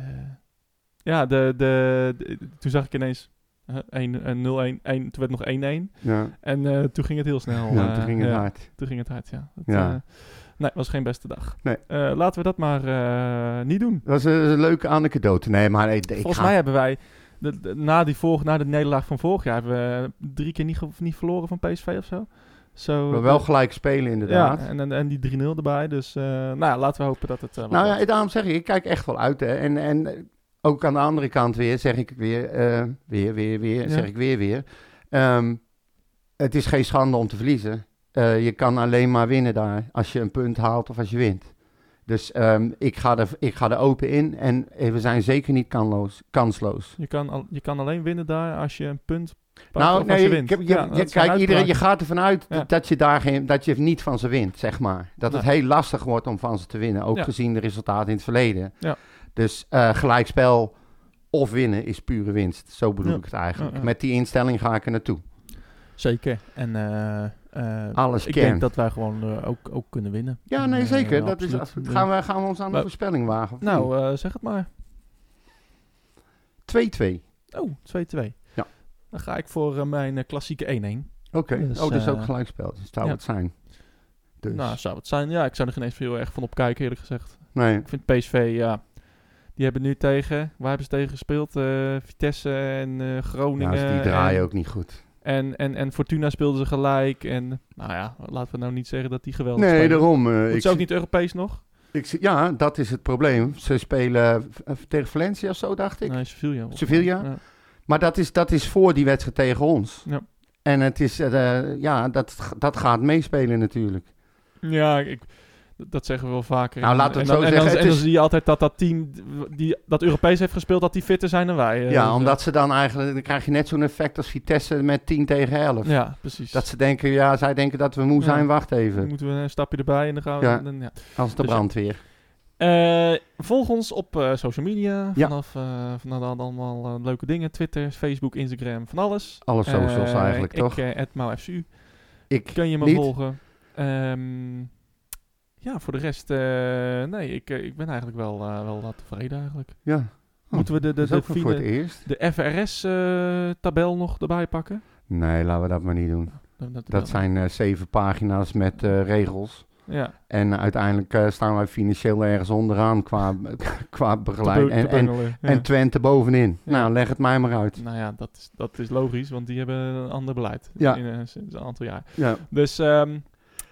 ja de, de, de- toen zag ik ineens eh, 1 eh, 0-1. 1 Toen werd het nog 1-1.
ja.
En eh, toen ging het heel snel.
Ja,
eh,
toen ging het
ja.
hard.
Toen ging het hard, ja. Dat,
Ja.
eh, nee, was geen beste dag.
Nee.
Eh, laten we dat maar eh, niet doen.
Dat was een, een leuke anekdote. Nee, maar ik, ik
Volgens
ga-
mij hebben wij, de- de- na, die vorige, na de nederlaag van vorig jaar, hebben we eh, drie keer niet, ge- niet verloren van PSV of zo. Zo-
we wel gelijk spelen
ja,
inderdaad.
en, en, en die 3-0 erbij. Dus eh, nou ja, laten we hopen dat het... eh, wat
Nou
wordt.
ja, daarom zeg ik, ik kijk echt wel uit. Hè. En, en eh, ook aan de andere kant weer, zeg ik weer, eh, weer, weer, weer,
Ja.
zeg ik weer, weer. Ehm, het is geen schande om te verliezen. Eh, je kan alleen maar winnen daar, als je een punt haalt of als je wint. Dus ehm, ik, ga er, ik ga er open in en eh, we zijn zeker niet kanloos, kansloos.
je, kan al- je kan alleen winnen daar als je een punt pakt
Nou,
of als je
nee,
wint.
ik heb- je,
Ja,
je-
dat zijn
kijk, iedereen, je
uitspraken.
gaat ervan uit
Ja.
dat, je daar geen, dat je niet van ze wint, zeg maar. Dat het
Nee.
heel lastig wordt om van ze te winnen, ook
Ja.
gezien de resultaten in het verleden.
Ja.
Dus eh, gelijkspel of winnen is pure winst. Zo bedoel
Ja.
ik het eigenlijk.
Ja, ja.
Met die instelling ga ik er naartoe.
Zeker. En eh, eh,
Alles
ik
kern.
denk dat wij gewoon eh, ook, ook kunnen winnen.
Ja,
En,
nee,
eh,
zeker. dat is,
absoluut.
af- gaan, we, gaan we ons aan de
Maar-
voorspelling wagen? of niet?
Nou, eh, zeg het maar.
2-2.
Oh, 2-2.
Ja.
Dan ga ik voor eh, mijn eh, klassieke 1-1.
Oké.
Dus,
oh, dat is ook
eh,
gelijkspel. Dat zou
ja.
het zijn. Dus,
Nou, zou het zijn. Ja, ik zou er geen eens heel erg van opkijken, eerlijk gezegd.
nee.
Ik vind PSV, ja... Die hebben nu tegen... Waar hebben ze tegen gespeeld? Eh, Vitesse en eh,
Nou,
Groningen. eh,
dus die draaien
en,
ook niet goed.
En, en, en Fortuna speelden ze gelijk. En nou ja, laten we nou niet zeggen dat die geweldig
Nee,
spelen.
daarom. eh,
Het
ik
is ook niet Europees nog.
Ik, zie- ja, dat is het probleem. Ze spelen eh, tegen Valencia of zo, dacht ik.
Nee, Sevilla. volgens mij.
Sevilla?
Ja.
Maar dat is, dat is voor die wedstrijd tegen ons.
Ja.
En het is, eh, ja, dat, dat gaat meespelen natuurlijk.
Ja, ik, dat dat zeggen we wel vaker.
Nou,
En-
laten we het
en dan-
zo
en dan-
zeggen,
En
het
dan
is-
zie je altijd dat dat team die dat Europees heeft gespeeld, dat die fitter zijn dan wij. eh.
ja,
Dus,
omdat ze dan eigenlijk, dan krijg je net zo'n effect als Vitesse met 10 tegen 11.
eh, Ja, precies.
Dat ze denken, ja, zij denken dat we moe
Ja.
zijn, wacht
Dan
even.
moeten we een stapje erbij en dan gaan we...
Ja.
dan- ja.
Als de
Dus-
brandweer.
Eh, volg ons op eh, social media.
Ja.
Vanaf, eh vanaf dan allemaal eh, leuke dingen. Twitter, Facebook, Instagram, van alles.
Alle socials
Eh,
eigenlijk,
ik,
toch?
Ik, at MauFCU.
Ik
Kun je me
niet.
volgen. Ehm, ja, voor de rest... eh, nee, ik, eh, ik ben eigenlijk wel, eh, wel tevreden eigenlijk.
Ja, Oh,
Moeten we de, de,
dat is
de,
ook voor het
fine-
eerst.
de FRS-tabel eh, nog erbij pakken?
Nee, laten we dat maar niet doen.
Dat, dat-
Dat zijn eh, zeven pagina's met eh, regels.
Ja,
En uiteindelijk eh, staan wij financieel ergens onderaan qua, qua begeleiding. En, en, en Twente bovenin.
Ja.
Nou, leg het mij maar uit.
Nou ja, dat is, dat is logisch, want die hebben een ander beleid
Ja.
in, eh, sinds een aantal jaar.
Ja.
Dus, ehm,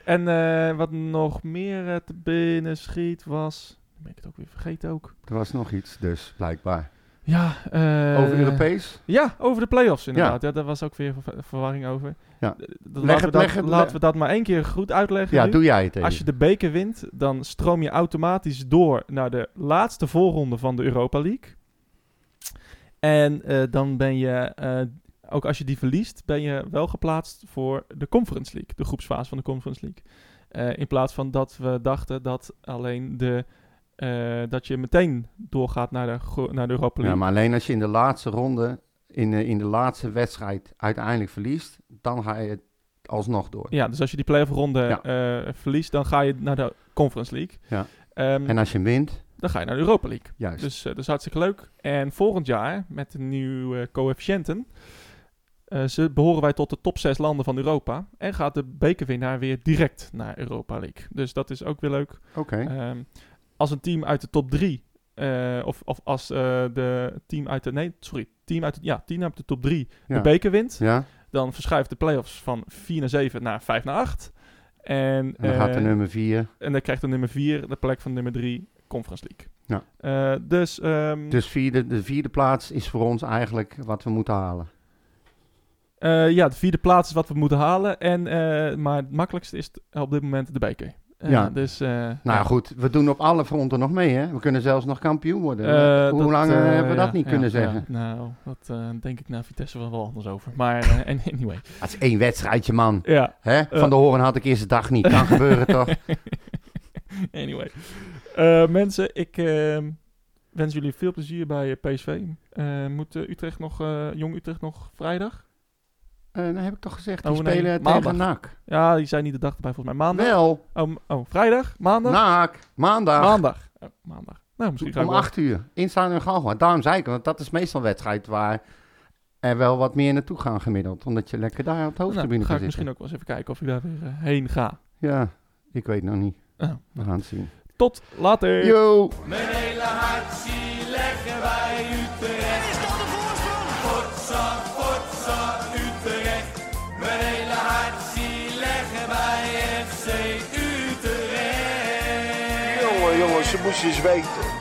en eh, wat nog meer eh, te binnen schiet was... Dan ben ik het ook weer vergeten ook.
Er was nog iets, dus blijkbaar.
Ja, eh,
Over Europees?
Ja, over de play-offs inderdaad. Ja, daar was ook weer ver- verwarring over.
Ja.
D- d-
Leg
laten we
het-
dat,
leg het-
laten we dat maar één keer goed uitleggen.
Ja,
nu.
doe jij het even.
Als je de beker wint, dan stroom je automatisch door naar de laatste voorronde van de Europa League. En eh, dan ben je, eh, ook als je die verliest, ben je wel geplaatst voor de Conference League, de groepsfase van de Conference League. Eh, in plaats van dat we dachten dat alleen de, eh, dat je meteen doorgaat naar de, gro- naar de
Ja,
Europa League.
maar alleen als je in de laatste ronde, in, eh, in de laatste wedstrijd uiteindelijk verliest, dan ga je alsnog door.
Ja, dus als je die playoff ronde
Ja.
eh, verliest, dan ga je naar de Conference League.
Ja.
Ehm,
En als je wint,
dan ga je naar de Europa League.
juist.
Dus eh, dat is hartstikke leuk. En volgend jaar, met de nieuwe eh, coëfficiënten, eh, ze behoren wij tot de top 6 landen van Europa. En gaat de bekerwinnaar weer direct naar Europa League. Dus dat is ook weer leuk.
Oké.
Ehm, als een team uit de top 3, of, of als eh, de team uit de, nee, sorry, team uit, de- ja, team uit de top 3
ja.
de beker wint,
Ja,
dan verschuift de play-offs van 4 naar 7 naar 5 naar 8. En,
en dan gaat de
eh,
nummer 4.
en dan krijgt de nummer 4 de plek van nummer 3 Conference League.
Ja.
Eh, dus ehm,
Dus vierde, de vierde plaats is voor ons eigenlijk wat we moeten halen.
Eh, ja, de vierde plaats is wat we moeten halen. En, eh, maar het makkelijkste is t- op dit moment de beker. Eh,
Ja.
Dus, eh,
Nou
ja.
ja, goed, we doen op alle fronten nog mee, hè? We kunnen zelfs nog kampioen worden.
Eh,
Hoe
dat,
lang eh,
eh,
hebben we dat
ja,
niet
ja,
kunnen
ja.
zeggen?
nou, dat eh, denk ik na Vitesse wel, wel anders over. Maar eh, en- anyway.
Dat is één wedstrijdje, man.
Ja,
Hè? Van
Ja.
de horen had ik eerst de dag niet. Kan gebeuren, toch?
anyway. Eh, mensen, ik ehm, wens jullie veel plezier bij eh, PSV. Eh, moet eh, Utrecht nog, eh, Jong Utrecht nog vrijdag?
Eh dan heb ik toch gezegd, die
Oh, nee.
spelen
Maandag.
tegen NAC.
Ja, die zijn niet de dag erbij volgens mij. Maandag?
Wel,
Oh, m- oh, vrijdag? Maandag?
NAC, maandag.
Maandag. Oh, maandag. Nou, misschien ga ik
Om
wel-
acht uur. Instaan en Galgenwaard. Daarom zei ik, want dat is meestal een wedstrijd waar er wel wat meer naartoe gaan gemiddeld. Omdat je lekker daar op het
Nou,
hoofdtribune
ga ik
kan
misschien
zitten.
ook wel eens even kijken of ik daar weer eh, heen ga.
Ja, ik weet nog niet.
Ah,
We gaan het zien.
Tot later.
Yo!
Mijn hele hart zie leggen wij Utrecht. Is dat de voorsprong? Potsa, potsa, Utrecht. Mijn hele hart zie leggen wij FC Utrecht.
Jongen, jongen, ze moest eens weten.